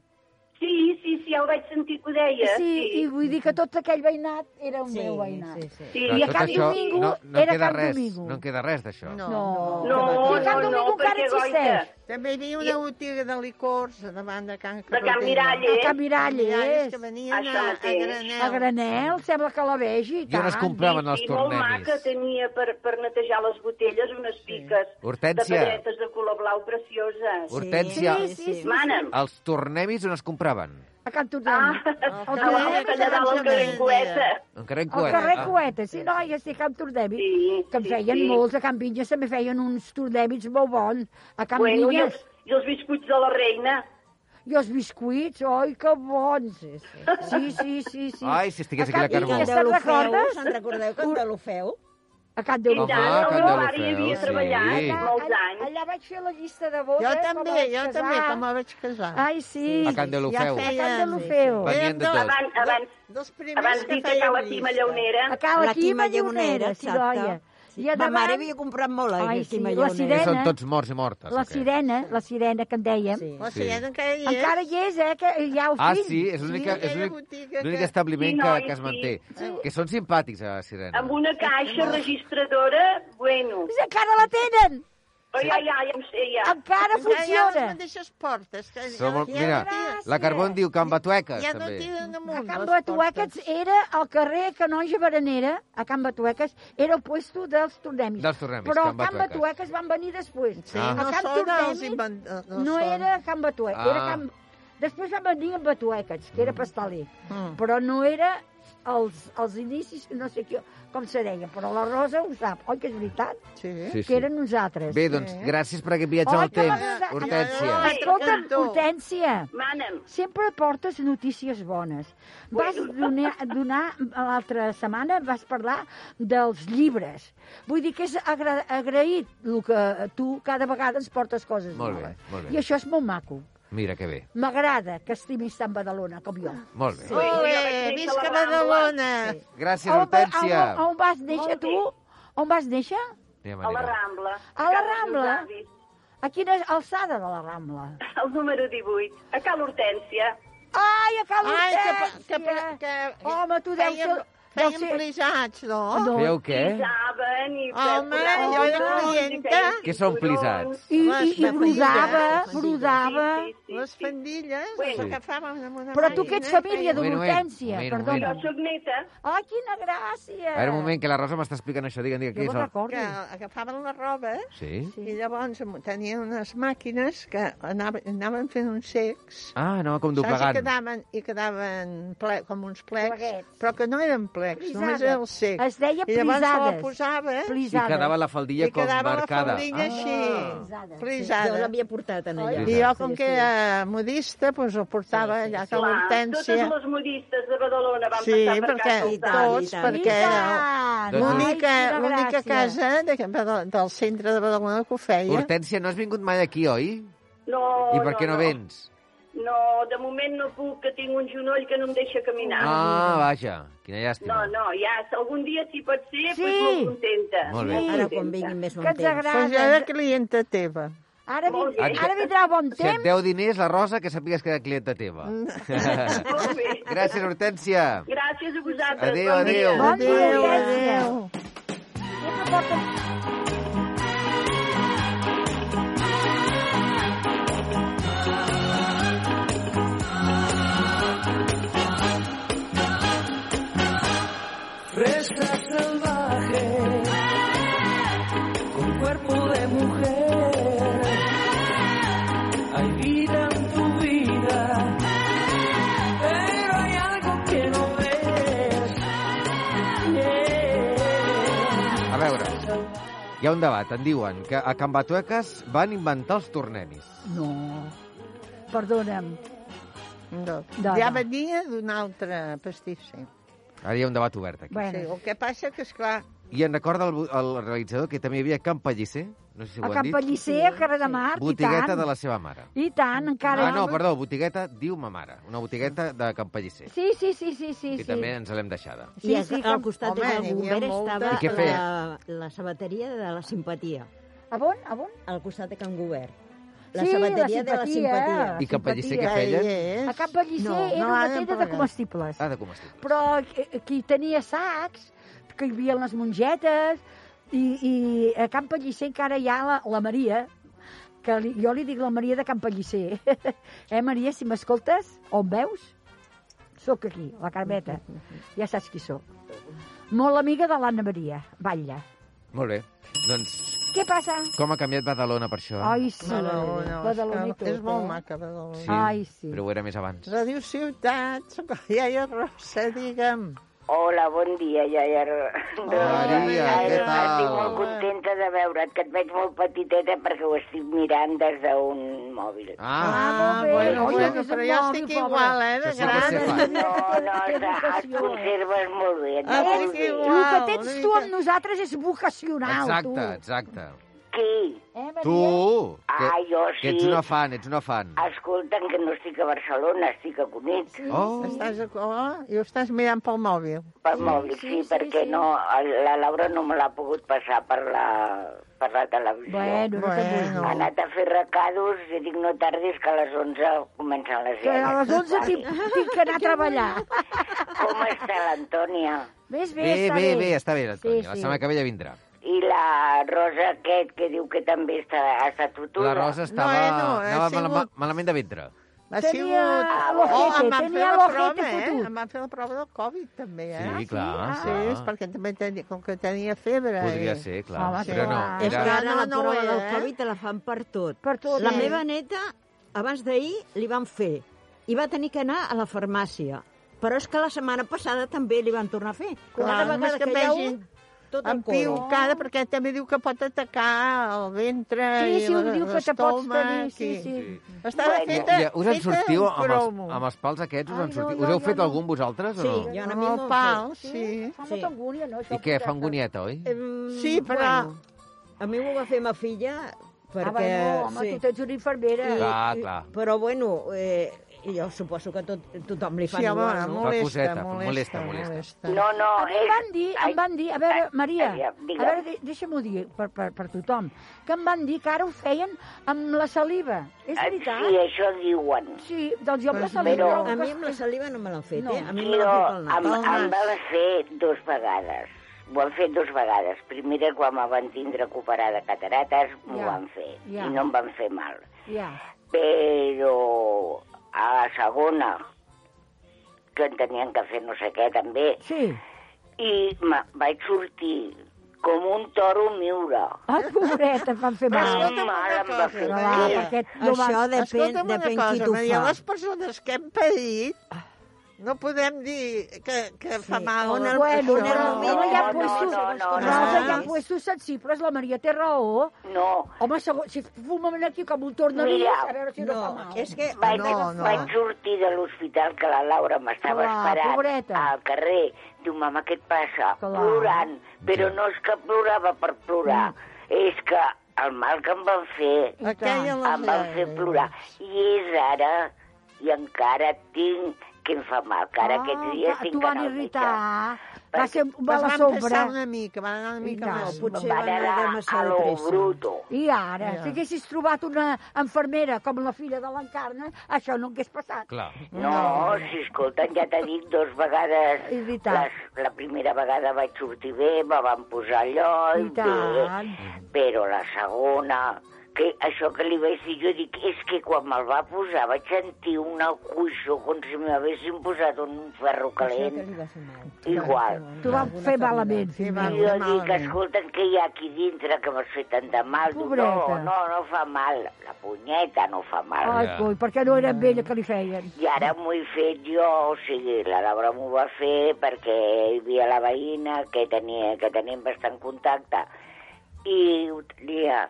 S10: Sí, sí, sí, ja ho vaig sentir que ho deia.
S3: Sí, i vull dir que tot aquell veïnat era un meu veïnat. Sí, sí.
S4: Però
S3: I a
S4: tot
S3: Can
S4: això
S3: Domingo
S4: no, no en
S3: era
S4: queda
S3: Can
S4: res,
S3: Domingo.
S4: No en queda res d'això.
S3: No, no.
S10: No,
S3: I a
S10: no,
S3: Can
S10: no,
S3: Domingo encara
S10: perquè,
S3: existeix.
S10: goita,
S6: També hi havia una botiga de licors a davant de Can
S10: Can
S6: Carretera.
S10: Miralles.
S3: A Can
S6: Miralles,
S3: Miralles,
S6: que venien
S10: Això
S6: a, a
S10: mateix.
S6: granel.
S3: a Granel, sembla que la vegi, i
S4: I on es
S3: tant.
S4: compraven els
S10: I molt maca
S4: tornemis.
S10: tenia per, per netejar les botelles unes piques de
S4: Hortènsia.
S10: pedretes de color blau precioses.
S4: Hortènsia,
S3: Sí, sí, sí.
S10: Mana'm.
S4: els tornemis on es compraven?
S3: A Can Tornem.
S10: Ah, a
S3: El
S10: la
S3: carrer
S10: batalla dalt al carrer Coeta.
S4: En carrer
S3: Al
S4: Coet.
S3: carrer
S4: Ah.
S3: Coeta, sí, no, ja sé, Camp Tordèmic,
S10: Sí,
S3: que en
S10: sí,
S3: feien
S10: sí.
S3: molts, a Camp Vinyes també feien uns tordèmics molt bons, a Camp
S10: Bueno, i, els,
S3: Vinyes,
S10: I els biscuits de la reina.
S3: i els biscuits, oi, que bons! Sí, sí, sí. sí, sí, sí.
S4: Ah. Ai, si estigués aquí la
S3: Camp
S4: Carbó.
S3: Vinyes,
S5: I
S3: Se'n
S5: Candelofeu,
S3: recordes?
S5: se'n recordeu Candelofeu?
S3: A Camp
S10: I
S3: Déu.
S10: tant,
S4: Home,
S10: el meu pare hi
S4: Candelofeu,
S10: havia
S4: sí.
S10: treballat
S4: Allà-
S10: molts
S3: allà,
S10: anys.
S3: allà vaig fer la llista de bodes.
S6: Jo
S3: quan
S6: també,
S3: me vaig
S6: jo
S3: casar.
S6: també, quan me vaig casar.
S3: Ai, sí.
S4: A Can de Lufeu.
S3: A
S6: feien-
S3: Can de Lufeu.
S4: Sí, Venien de
S6: Dos-
S4: tot.
S10: Abans, abans,
S6: Dos primers
S10: abans
S6: que
S10: dit que
S6: feien
S10: la Quima
S6: llista.
S10: Lleonera.
S3: A Cala
S5: La
S3: Quima
S5: Quima
S3: Lleonera,
S5: Lleonera,
S3: sí,
S5: exacte.
S3: doia. I a
S5: Ma mare
S3: davant,
S5: havia comprat molt eh, la
S3: Ai,
S5: Quima
S3: sí, la
S5: Lleonera.
S4: Que
S3: sirena.
S4: són tots morts i mortes.
S3: la
S4: o què?
S3: sirena, la sirena que en dèiem.
S5: Sí.
S6: La
S4: Sí.
S6: sirena encara hi és.
S3: Encara hi és, eh, que hi ha el
S4: Ah,
S3: fill.
S4: sí, és l'únic
S6: Sí,
S4: és
S6: aquella
S4: l'únic-
S6: botiga
S4: l'únic
S6: que-
S4: establiment
S10: Sí,
S4: que,
S10: noi,
S4: que es
S10: sí. Ah,
S4: manté. Que són simpàtics, a la sirena.
S10: Amb una caixa registradora, bueno.
S3: Sí, Encara la tenen!
S10: Però ja, ja, ja ho sé, ja.
S3: Encara
S6: Encara hi ha les
S3: funciona!
S6: mateixes portes. Que
S4: Són molt-
S6: ja
S4: mira,
S6: no tira-
S4: la Carbó en diu Can Batueques,
S6: ja no
S4: també.
S6: tiren amunt
S3: A Can
S6: les
S3: Batueques
S6: portes.
S3: era el carrer Canonja Berenera, a Can Batueques, era el puesto dels tornemis.
S4: Dels tornemis,
S3: Però
S4: Can
S3: a Can
S4: Batueques.
S3: Batueques van venir després.
S6: Sí,
S4: Ah.
S3: A
S6: no
S3: Can
S6: són els
S3: Tornemis
S6: invent- eh,
S3: No,
S6: són.
S3: era Can Batueques, era
S4: Ah.
S3: Can... Després van venir a Batueques, que era pastaler.
S6: Mm.
S3: Però no era els, els inicis, no sé qui, com se deia, però la Rosa ho sap, oi que és veritat?
S6: Sí.
S4: Sí,
S3: Que
S4: sí.
S3: eren uns altres.
S4: Bé, doncs, gràcies per aquest viatge
S3: Oi,
S4: al
S3: que la
S4: temps,
S3: Rosa-
S4: Hortènsia.
S6: Ai,
S3: Escolta'm,
S6: Cantó.
S3: Hortènsia,
S10: Mana'm.
S3: sempre portes notícies bones. Vas donar, donar l'altra setmana vas parlar dels llibres. Vull dir que és agra agraït el que tu cada vegada ens portes coses
S4: Molt bé,
S3: noves.
S4: molt bé.
S3: I això és molt maco.
S4: Mira que bé.
S3: M'agrada que estimis tant Badalona com jo.
S4: Molt bé.
S6: Ole, visca Badalona!
S4: Gràcies,
S3: On, va, on,
S4: Hortènsia.
S3: on vas néixer
S10: Molt bé.
S3: tu? On vas néixer?
S4: Anem,
S10: A la
S4: anem.
S10: Rambla.
S3: A la
S10: casa dels
S3: Rambla?
S10: avis.
S3: A quina alçada de la Rambla?
S10: El número 18. A Cal Hortència.
S3: Ai, a Cal
S6: Ai, que... pa- que,
S3: Hortènsia!
S6: pa- que
S3: Home, tu deus
S6: feien,
S3: ser- deus
S6: feien
S3: ser-
S6: plisats, no?
S3: No.
S4: Feu què?
S10: Pisaven i...
S6: Home,
S10: posaven
S6: jo era
S10: cinturons i
S6: clienta.
S10: feien
S4: Què són
S10: cinturons.
S4: plisats?
S3: I, i,
S6: Les
S3: i
S6: faldilles,
S3: brodava,
S6: les faldilles.
S3: brodava...
S10: Sí, sí, sí,
S6: Les
S10: sí.
S6: fandilles les
S10: Bueno.
S6: agafàvem amb una
S3: Però tu que
S6: màquina
S3: ets
S6: i
S3: família
S6: feien-
S4: Un moment, un
S3: d'Hortènsia,
S4: moment, un
S3: perdona.
S10: Jo sóc neta.
S3: Ai, quina gràcia!
S4: A veure, un moment, que la Rosa m'està explicant això. Digue'm, digue'm,
S3: Jo
S4: quins
S3: me'n
S4: són.
S6: que
S3: recordo.
S6: agafaven la roba
S4: Sí?
S6: i llavors tenien unes màquines que anaven, anaven fent uns cecs
S4: Ah, no, com
S6: saps? I
S4: doblegant.
S6: quedaven, i quedaven ple, com uns plecs,
S3: Pleguets.
S6: però que no eren plecs,
S3: Plisades.
S6: només era el cec.
S3: Es deia
S6: I llavors la
S3: plisades.
S6: posava
S4: I quedava la faldilla
S6: i
S4: com
S6: quedava la
S4: marcada. Ah.
S6: faldilla així,
S3: Plisades.
S5: Jo
S6: plisada.
S5: l'havia portat en allà.
S4: Oi.
S6: I jo, com que era modista, doncs ho portava allà a
S10: Clar,
S6: l'hortència.
S10: totes les modistes de Badalona van
S6: Sí,
S10: passar per
S6: perquè
S10: casa.
S5: i tant,
S6: tots,
S5: i tant.
S6: perquè era
S4: Doncs-
S6: l'única l'única casa de, de, del centre de Badalona que ho feia.
S4: Hortènsia, no has vingut mai aquí, oi?
S10: No,
S4: I per què no vens?
S10: No, de moment no puc, que tinc un genoll que no em deixa caminar.
S4: Ah, vaja, quina
S10: No,
S4: llàstima.
S10: no, ja, si algun dia si pot ser, sí.
S3: Sí.
S10: doncs molt contenta.
S4: Molt bé.
S10: Molt
S5: Ara
S10: contenta.
S5: quan vinguin més
S3: Que
S5: bon
S3: ens
S5: temps.
S6: Doncs jo era
S3: agrada.
S6: clienta teva.
S3: Ara,
S10: Molt
S3: vin...
S10: bé.
S3: Ara vindrà bon
S4: Si et [laughs]
S3: temps.
S4: deu diners, la Rosa, que sàpigues que era clienta teva.
S3: Mm.
S10: Molt bé.
S4: [laughs] Gràcies, Hortènsia.
S10: Gràcies a vosaltres.
S4: Adéu,
S10: bon dia.
S4: adéu.
S3: Bon dia,
S6: Adéu,
S3: Hortènsia.
S6: adéu.
S3: Sempre portes-
S9: Fresa salvaje, con
S4: Hi ha un debat, en diuen que a Can Batueques van inventar els tornemis.
S3: No. Perdona'm.
S6: No.
S3: No,
S6: ja
S3: no.
S6: venia d'un altre pastís, sí.
S4: Ara hi ha un debat obert aquí.
S6: Bueno. sí. El que passa que, esclar,
S4: I en recorda el, bu- el realitzador que també hi havia a Can Pellicer, no sé si
S3: A
S4: ho han
S3: Can
S4: dit,
S3: Pellicer, a Carrer de Mar, i
S4: botigueta
S3: tant.
S4: de la seva mare.
S3: I tant, encara...
S4: Ah, no, perdó, botigueta diu ma mare, una botigueta de Can Pellicer,
S3: Sí, sí, sí, sí, sí.
S4: que
S3: sí.
S4: també ens l'hem deixada.
S5: Sí, I sí, al
S3: com-
S5: costat
S3: home,
S5: home,
S3: n'hi
S5: del Gomber
S3: havia molta.
S5: estava
S4: I què
S5: la,
S4: feia?
S5: la sabateria de la simpatia.
S3: A on? A on?
S5: Al costat de Can Gobert. La
S3: Sí, la
S5: sabateria de la
S3: simpatia.
S5: simpatia.
S4: I Can Pellicer què feien?
S3: A Can Pellicer
S5: No,
S3: no, era
S5: no,
S3: una
S5: ara en
S3: tenda de
S5: parlarem.
S3: comestibles.
S4: Ah, de comestibles.
S3: Però qui- qui tenia sacs, que hi havia les mongetes, i, i a Can Pellicer encara hi ha la, la Maria, que li, jo li dic la Maria de Can Pellicer. [laughs] eh, Maria, si m'escoltes, o em veus? Sóc aquí, la Carmeta. Ja saps qui sóc. Molt amiga de l'Anna Maria, Batlle.
S4: Molt bé. Doncs
S3: Què passa?
S4: com ha canviat Badalona per això?
S3: Ai, sí.
S6: Badalona,
S3: Badalona i
S6: és, que
S3: tot,
S6: és molt
S3: eh?
S6: maca, Badalona.
S4: Sí,
S6: Sí.
S3: Ai, sí.
S4: Però ho era més abans.
S6: Radio Ciutat, soc la iaia Rosa, digue'm.
S12: Hola, bon dia, iaia.
S4: Maria, què tal?
S12: Estic molt contenta de veure't, que et veig molt petiteta perquè ho estic mirant des d'un mòbil.
S4: Ah,
S6: Ah, bueno, bueno, però jo estic igual, eh, de
S4: Que sí que se
S6: gran.
S4: fa.
S12: No, no, et, et conserves molt bé. Et
S6: Ah,
S12: molt
S6: sí,
S12: bé.
S6: igual.
S3: El que tens tu amb nosaltres és vocacional,
S4: exacte,
S3: tu.
S4: exacte.
S12: Qui?
S3: Eh, Maria?
S4: Tu, que,
S12: Ah, jo sí. Ah,
S4: que ets una fan, ets una fan.
S12: Escolta'm, que no estic a Barcelona, estic a Cunit.
S4: Oh,
S6: Estàs, a- oh, i ho estàs mirant pel mòbil.
S12: Pel mòbil, sí, perquè no, la Laura no me l'ha pogut passar per la, per la televisió.
S3: Bueno, no te'n
S6: Bueno.
S12: Ha
S3: vulguis.
S12: anat a fer recados i dic no tardis que a les 11 comencen les
S3: Que a les 11
S12: Vale.
S3: tinc, tinc
S12: [laughs]
S3: que anar a treballar.
S12: Com està l'Antònia?
S3: Ves bé,
S4: bé,
S3: està
S4: bé, bé, està bé, Antònia.
S3: Sí,
S4: La
S3: sí.
S4: setmana que ve ja vindrà.
S12: I la Rosa aquest que diu que també està, ha estat tutuda?
S4: La Rosa estava,
S6: eh, no, ha
S4: anava
S6: sigut-
S4: malament, malament de ventre.
S6: Ha
S3: Tenia
S6: sigut...
S12: Ah,
S3: l'ojete,
S6: em van
S3: tenia
S6: fer la
S3: l'ojete
S6: prova, eh?
S3: fotut.
S6: Em van fer la prova del Covid, també, eh?
S4: Sí, clar.
S6: Sí, és perquè també tenia, com que tenia febre.
S4: Ah. Podria
S6: eh?
S4: ser, clar.
S3: Home,
S4: Però no,
S3: clar.
S5: És
S4: era...
S5: que ara
S6: No,
S5: la
S6: no ho
S5: prova
S6: era,
S5: del
S6: eh?
S5: Covid te la fan per tot.
S3: Per tot.
S5: La
S3: Sí.
S5: meva neta, abans d'ahir, li van fer. I va tenir que anar a la farmàcia. Però és que la setmana passada també li van tornar a fer.
S6: Clar,
S5: Cada
S6: només
S5: vegada
S6: que
S5: que, hi ha
S6: vegin
S5: un, tot el
S6: Amb
S5: coro.
S6: piucada, perquè també diu que pot atacar el ventre
S3: Sí, sí,
S6: i
S3: ho
S6: la-
S3: diu que te pots tenir,
S6: l'estómac
S3: sí,
S6: i-
S3: sí.
S6: Estava
S12: Bueno,
S6: feta,
S4: Ja, us en
S6: feta
S4: sortiu
S6: un
S4: amb els,
S6: cromo.
S4: amb els pals aquests? Us,
S3: Ai,
S4: en
S3: no,
S4: sortiu?
S3: no,
S4: us heu
S3: jo
S4: fet
S3: no.
S4: algun vosaltres
S5: Sí,
S4: o no?
S5: jo a
S6: Amb
S5: mi
S6: el
S5: m'ho han
S6: pal,
S5: fet.
S6: sí.
S3: Fa
S5: Sí.
S3: molta angúnia, no? això,
S4: I què,
S3: portar-te.
S4: fa angonieta, oi?
S5: Em,
S6: Sí, però-
S5: a mi m'ho va fer ma filla perquè...
S3: Ah, bueno, home,
S5: sí.
S3: tu tens una infermera.
S5: I-
S4: Clar,
S5: i-
S4: clar.
S5: Però, bueno, eh, jo suposo que tot, tothom li fa
S6: Sí, home,
S5: igual, no?
S6: molesta,
S4: coseta, fa- molesta,
S6: molesta,
S4: molesta.
S6: molesta.
S12: No, no,
S3: A mi
S12: és...
S3: em van dir, em van dir, a veure, Maria,
S12: aviam,
S3: a
S12: digue'm.
S3: veure, de- deixa'm-ho dir per, per, per tothom, que em van dir que ara ho feien amb la saliva. És
S12: Ah, Sí,
S3: veritat?
S12: això diuen.
S3: Sí, doncs jo amb la
S6: Però-
S3: saliva...
S12: Però-
S3: trobo
S5: A mi
S3: que-
S5: amb la saliva no me l'han fet,
S3: No.
S5: eh? A mi me
S12: Jo
S5: l'han fet pel
S12: em,
S5: nas.
S12: em van fer dues vegades. Ho han fet dues vegades. Primera, quan me van tindre a operar de catarates, m'ho
S3: Ja,
S12: van fer.
S3: ja.
S12: I no em van fer mal.
S3: Ja.
S12: Però a la segona, que en tenien que fer no sé què també,
S3: Sí.
S12: i me, vaig sortir com un toro miura.
S3: [laughs] Ai, pobret, oh, em van fer mal.
S12: Tan mal em va fer.
S3: No, va,
S12: Sí.
S3: perquè no va...
S5: Això depèn,
S6: Escolta'm una
S5: depèn qui
S6: cosa,
S5: t'ho
S6: Maria,
S5: fa.
S6: les persones que hem patit no podem dir que, que fa mal.
S5: On el-
S3: Bueno,
S5: en el moment
S3: però no,
S5: no,
S3: hi ha
S5: no,
S12: no,
S3: puestos,
S12: no,
S3: no, no,
S6: no.
S3: hi ha puestos sensibles, la Maria té raó.
S12: No,
S3: Home, segon, si fumem aquí com un tornavís,
S12: Mira.
S3: a veure si no,
S5: No,
S3: fa mal.
S5: és que...
S12: Vaig,
S6: No, no.
S12: vaig sortir de l'hospital que la Laura m'estava
S3: Clar,
S12: esperant
S3: pobreta.
S12: al carrer. Diu, mama, què et passa?
S3: Clar.
S12: Plorant. Però no és que plorava per plorar.
S3: Mm.
S12: És que el mal que em van fer,
S6: I Aquella tant.
S12: em van fer plorar. I és ara, i encara tinc que em fa mal, que ara aquests dies
S3: Ah,
S12: tinc
S3: tu
S12: que
S3: van
S12: anar al
S3: irritar.
S12: metge.
S3: Va ser un
S6: Les
S3: mal a
S6: van
S3: sobre.
S6: passar una mica, van anar una
S3: I
S6: mica
S3: tant.
S6: més.
S5: Potser
S12: Em van
S5: van anar
S12: anar
S5: massa
S12: a
S5: de
S12: lo
S5: pressa.
S12: bruto.
S3: I ara,
S6: Ja.
S4: ah.
S3: si haguessis trobat una enfermera com la filla de l'Encarna, això no hagués passat.
S4: Clar.
S12: No, si escolta, ja t'he dit dos vegades.
S3: És veritat.
S12: Les, la primera vegada vaig sortir bé, me van posar allò, i
S3: I tant.
S12: bé. Però la segona, que això que li vaig dir, jo dic, és que quan me'l va posar vaig sentir una cuixó com si m'haguessin posat un ferro
S5: Això que
S12: calent.
S5: li va fer mal.
S12: Igual.
S3: T'ho van fer malament,
S6: Sí,
S3: fill
S6: va,
S12: I jo dic,
S6: malament.
S12: escolta, què hi ha aquí dintre que m'has fet tant de mal? Diu, no,
S3: Pobreta.
S12: no, no fa mal. La punyeta no fa mal.
S3: Ai,
S4: Ja.
S3: coi, perquè no era amb ella que li feien.
S12: I ara m'ho he fet jo, o sigui, la Laura m'ho va fer perquè hi havia la veïna que, tenia, que tenim bastant contacte i ho tenia.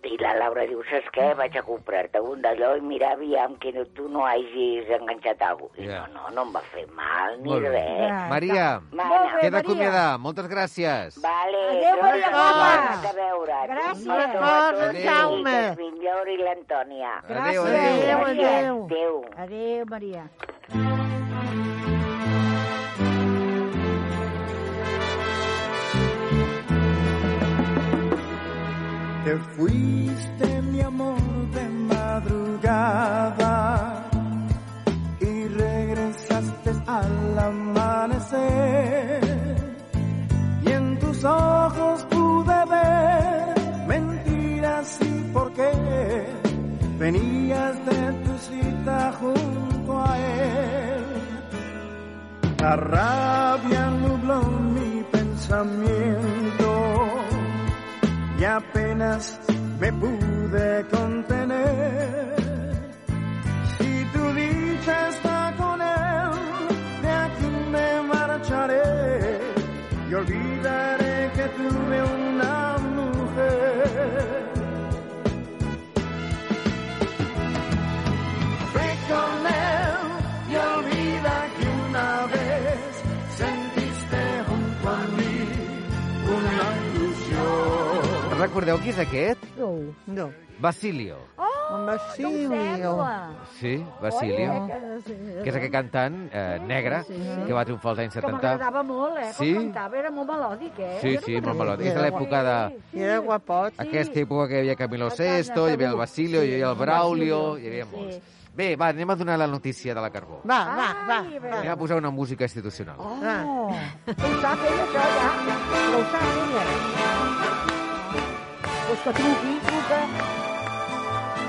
S12: I la Laura diu, saps què? Vaig a comprar-te un d'allò i mira, aviam, que no, tu no hagis enganxat alguna cosa. I
S4: Ja.
S12: no, no, no em va fer mal ni
S4: Molt bé.
S12: res.
S4: Maria,
S12: Mana.
S4: t'he d'acomiadar. Moltes gràcies.
S12: Vale.
S1: Adéu,
S12: doncs,
S1: Maria
S12: tornem
S1: Mola.
S12: A veure.
S1: Gràcies.
S12: Adéu,
S1: Adéu. Jaume.
S12: Millor i l'Antònia.
S3: Gràcies.
S12: Adéu,
S3: Adéu,
S12: adéu.
S3: Adéu, Maria.
S13: Te fuiste mi amor de madrugada y regresaste al amanecer y en tus ojos pude ver mentiras y por qué venías de tu cita junto a él. La rabia nubló mi pensamiento y apenas me pude contener. Si tu dicha está con él, de aquí me marcharé y olvidaré que tuve una mujer. Ve con él y olvida que una vez sentiste junto a mí una ilusión.
S4: Recordeu qui és aquest?
S6: No. No.
S4: Basilio.
S6: Oh, Basilio.
S4: Sí,
S3: eh,
S4: Basilio. que és aquest cantant eh, negre
S3: Sí.
S4: que va triomfar als anys
S3: Que
S4: 70.
S3: m'agradava molt, eh?
S4: Sí?
S3: Com cantava, era molt melòdic, eh?
S4: Sí,
S3: Jo no
S4: sí,
S3: me'n
S4: molt melòdic. És de
S3: recordo.
S4: l'època de...
S6: I era guapot.
S4: Aquesta època que hi havia Camilo Sesto, hi havia el Basilio, hi havia el Braulio, hi havia molts. Bé, va, anem a donar la notícia de la Carbó.
S6: Va, va, va. va.
S4: Anem a posar una música institucional.
S3: Oh, ho sap ella, això, ja. Però ho sap ella. Pues que truqui, truca.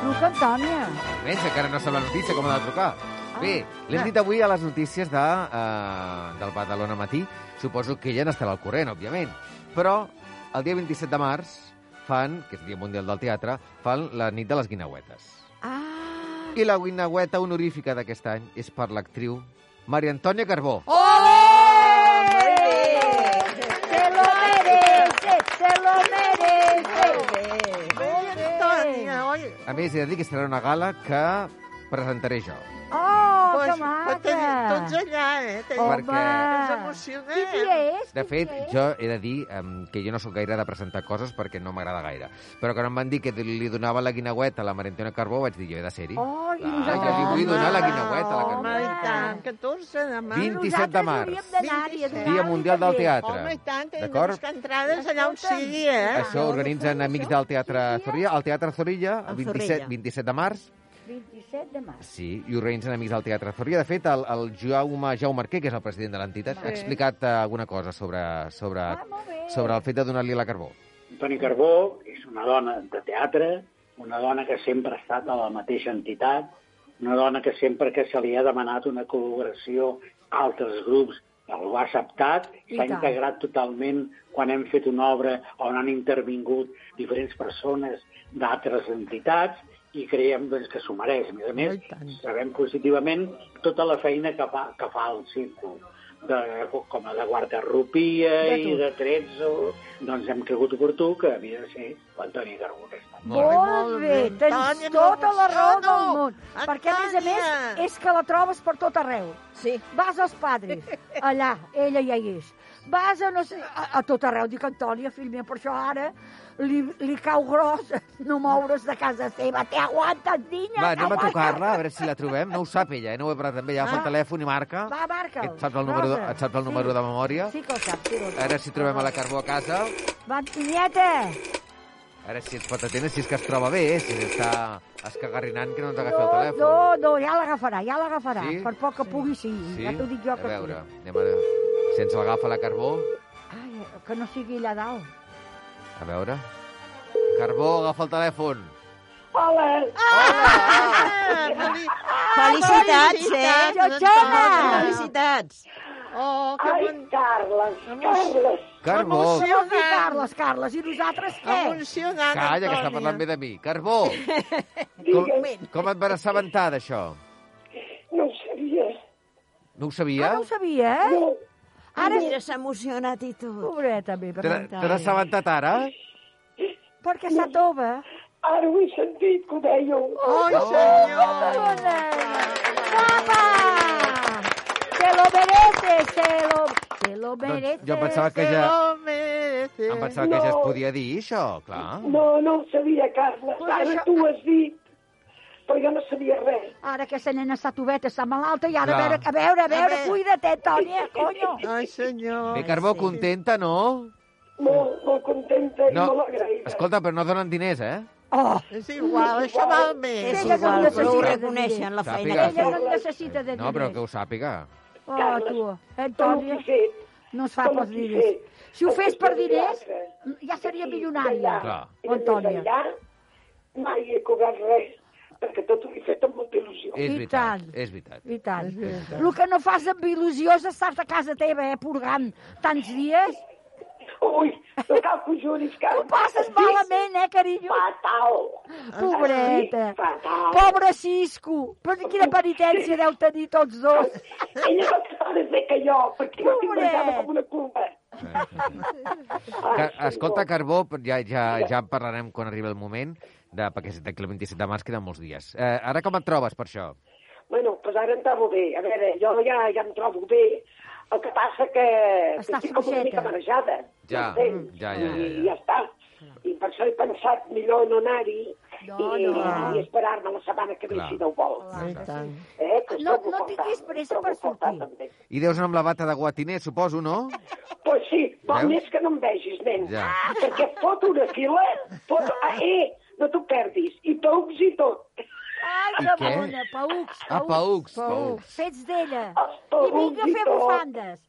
S3: Truca, Antònia.
S4: Menys, encara no sap la notícia, com ha de trucar. Bé, l'hem
S3: Ah.
S4: dit avui a les notícies de, eh, del Badalona Matí. Suposo que ja n'estarà al corrent, òbviament. Però el dia 27 de març fan, que és el Dia Mundial del Teatre, fan la nit de les guineuetes. Ah. I la guineueta honorífica d'aquest any és per l'actriu Maria Antònia Carbó. Oh!
S3: Se lo merece, se lo merece.
S6: Antònia, oi?
S4: A més, he de dir que serà una gala que presentaré jo.
S3: Oh,
S6: pues,
S3: que maca.
S6: pot tenir tots allà, eh? Tenim,
S4: Home. Perquè-
S6: Ens emocionem.
S3: Quin dia és?
S4: De fet, jo he de dir um, que jo no sóc gaire de presentar coses perquè no m'agrada gaire. Però quan em van dir que li donava la guineueta a la Marentona Carbó, vaig dir, jo he de ser-hi.
S3: Oh, i
S4: Clar, jo li vull donar la guineueta a la Carbó.
S6: Home, i tant, 14 de març.
S4: 27 de març.
S6: Nosaltres hauríem d'anar-hi a donar-li
S4: Dia Mundial del
S6: també.
S4: Teatre.
S6: Home, i tant, hem de
S4: D'acord?
S6: buscar entrades allà on sigui, eh?
S4: Això ho organitzen amics del Teatre Zorrilla, al Teatre Zorrilla,
S6: Al
S4: el 27,
S6: Zorrilla.
S4: 27 de març,
S3: 27 de març.
S4: sí, i ho organitzen amics del Teatre Zorrilla. De fet, el, el Jaume Jaume Arquer, que és el president de l'entitat,
S8: Sí.
S4: ha explicat eh, alguna cosa sobre, sobre, sobre el fet de donar-li la Carbó.
S14: Toni Carbó és una dona de teatre, una dona que sempre ha estat a la mateixa entitat, una dona que sempre que se li ha demanat una col·laboració a altres grups ho ha acceptat,
S15: I
S14: s'ha
S15: tant.
S14: integrat totalment quan hem fet una obra on han intervingut diferents persones d'altres entitats i creiem doncs, que s'ho mereix. A més a més, sabem positivament tota la feina que fa, que fa el círcul de, com a de guardarropia
S15: De
S14: i
S15: tot.
S14: de tretzo, doncs hem cregut oportú que havia de ser l'Antoni Carbó aquest any.
S3: Molt bé, tens
S6: Antònia,
S3: tota la raó
S6: m'emociono.
S3: del món. Perquè, a més a més, és que la trobes per tot arreu. Sí. Vas als padres, [laughs] allà, ella ja hi és. Vas a, no sé, a, a tot arreu. Dic, Antònia, fill meu, per això ara li, li cau gros no moure's de casa seva. Te aguantes, niña,
S4: Va,
S3: te
S4: anem a
S3: aguantes.
S4: trucar-la, a veure si la trobem. No ho sap ella, eh? no ho he parlat també. Ja agafa el telèfon i marca.
S3: Va, marca'l.
S4: Que et saps el número, de,
S3: Rosa.
S4: et saps el número de memòria.
S3: Sí que ho sap, sí que ho
S4: A
S3: sap.
S4: veure si trobem a la Carbó a casa.
S3: Va, Antonieta!
S4: A veure si ens pot atendre, si és que es troba bé, eh? si està escagarrinant que no ens agafi el
S3: No,
S4: telèfon.
S3: no, no, ja l'agafarà, ja l'agafarà.
S4: Sí?
S3: Per poc que pugui, sí.
S4: Sí?
S3: Ja t'ho dic jo
S4: a
S3: que sí.
S4: veure, anem a... Si ens l'agafa la Carbó,
S3: Ai, eh, que no sigui allà dalt.
S4: a veure... Carbó, agafa el telèfon.
S12: Hola!
S3: Ah,
S6: Hola!
S5: Felicitats, eh?
S6: Georgiana!
S5: Felicitats.
S6: Oh, que
S12: Ai,
S6: bon...
S12: Carles, Carles.
S4: Carbó.
S3: Carles, i Carles, Carles, i nosaltres què?
S6: Emocionant,
S4: Calla, que està parlant bé de mi. Carbó, com, com et vas assabentar d'això?
S12: No ho sabia.
S4: No ho sabia?
S3: sabia, eh?
S5: Ara mira, s'ha emocionat i tot.
S3: Pobreta, mi,
S5: eh?
S4: Te n'ha- te n'has assabentat ara?
S3: Perquè s'ha tova.
S15: Ara ho he sentit, que ho dèieu.
S3: Ai,
S4: Oh.
S3: senyor! Guapa! Se lo merece, se lo... Se lo merece,
S4: Doncs jo pensava que
S3: se
S4: ja-
S3: lo merece.
S4: Em pensava que ja es
S15: No.
S4: podia dir, això, clar.
S15: No, no ho sabia, Carla.
S3: Doncs
S15: Ara tu ho has dit, però jo no sabia res.
S3: Ara aquesta nena està toveta, està malalta, i ara a
S4: Clar.
S3: veure, a veure, a veure,
S15: A veure.
S3: cuida-te, Tònia, conyo.
S6: Ai, senyor.
S4: Bé, Carbó, contenta, no?
S15: Molt, molt contenta
S4: No.
S15: i molt agraïda.
S4: Escolta, però no donen diners, eh?
S3: Oh.
S6: És igual, això val més.
S5: És
S3: Ella no
S5: igual, però ho
S3: necessita
S5: reconeixen, la feina
S4: Sàpiga.
S5: que
S3: Ella no
S5: fa.
S3: necessita
S4: No,
S3: de diners.
S4: però que ho sàpiga.
S3: Oh, tu, eh, Tònia, no es fa
S15: Com ho
S3: pels
S15: has
S3: diners.
S15: fet?
S3: Si ho fes per
S15: Perquè
S3: diners,
S15: d'allà-
S3: ja seria
S15: d'allà,
S3: milionària.
S4: Clar.
S15: i de
S3: Antònia.
S15: Allà mai he cobrat res, perquè tot ho he fet amb molta il·lusió.
S4: És veritat, és veritat.
S3: I tant. El que no fas amb il·lusió és estar a casa teva, eh, purgant tants dies.
S15: Ui, no cal que ho juris, que...
S3: Ho passes malament, eh, carinyo?
S15: Fatal. Ah,
S3: Pobreta.
S15: Sí, fatal.
S3: Pobre Cisco. Però quina penitència deu tenir tots dos.
S15: Ella va passar més bé que jo, perquè jo estic menjada com una culpa.
S4: Car Escolta, Carbó, ja, ja, ja en parlarem quan arribi el moment, de, perquè d'aquí el 27 de març queden molts dies. Eh, ara com et trobes per això?
S15: Bueno, doncs ara em trobo bé. A veure, jo ja, ja em trobo bé. El que passa que, que estic com una mica marejada.
S4: Ja,
S15: m'entens?
S4: ja, ja, ja,
S15: I ja està. I per això he pensat millor no anar-hi i,
S3: no.
S15: i esperar-me la setmana que ve,
S4: Clar.
S15: si no ho vol. Eh, que
S3: No,
S15: trobo
S3: no
S15: a faltar,
S3: tinguis pressa
S15: trobo
S3: per
S15: a faltar
S3: sortir.
S15: també.
S4: I deus anar amb la bata de guatiner, suposo, no?
S15: Pues sí, val
S4: Veus?
S15: més que no em vegis, nen.
S4: Ja.
S15: Perquè fot una fila, fot... Ah, eh, no t'ho perdis. I paucs i tot.
S3: Ai,
S15: I
S3: que
S15: què?
S3: bona, paucs,
S15: Ah,
S4: paucs, paucs.
S3: Fets d'ella. I
S15: paucs
S3: vinga a
S15: Ah, i
S3: fer
S15: tot.
S3: bufandes.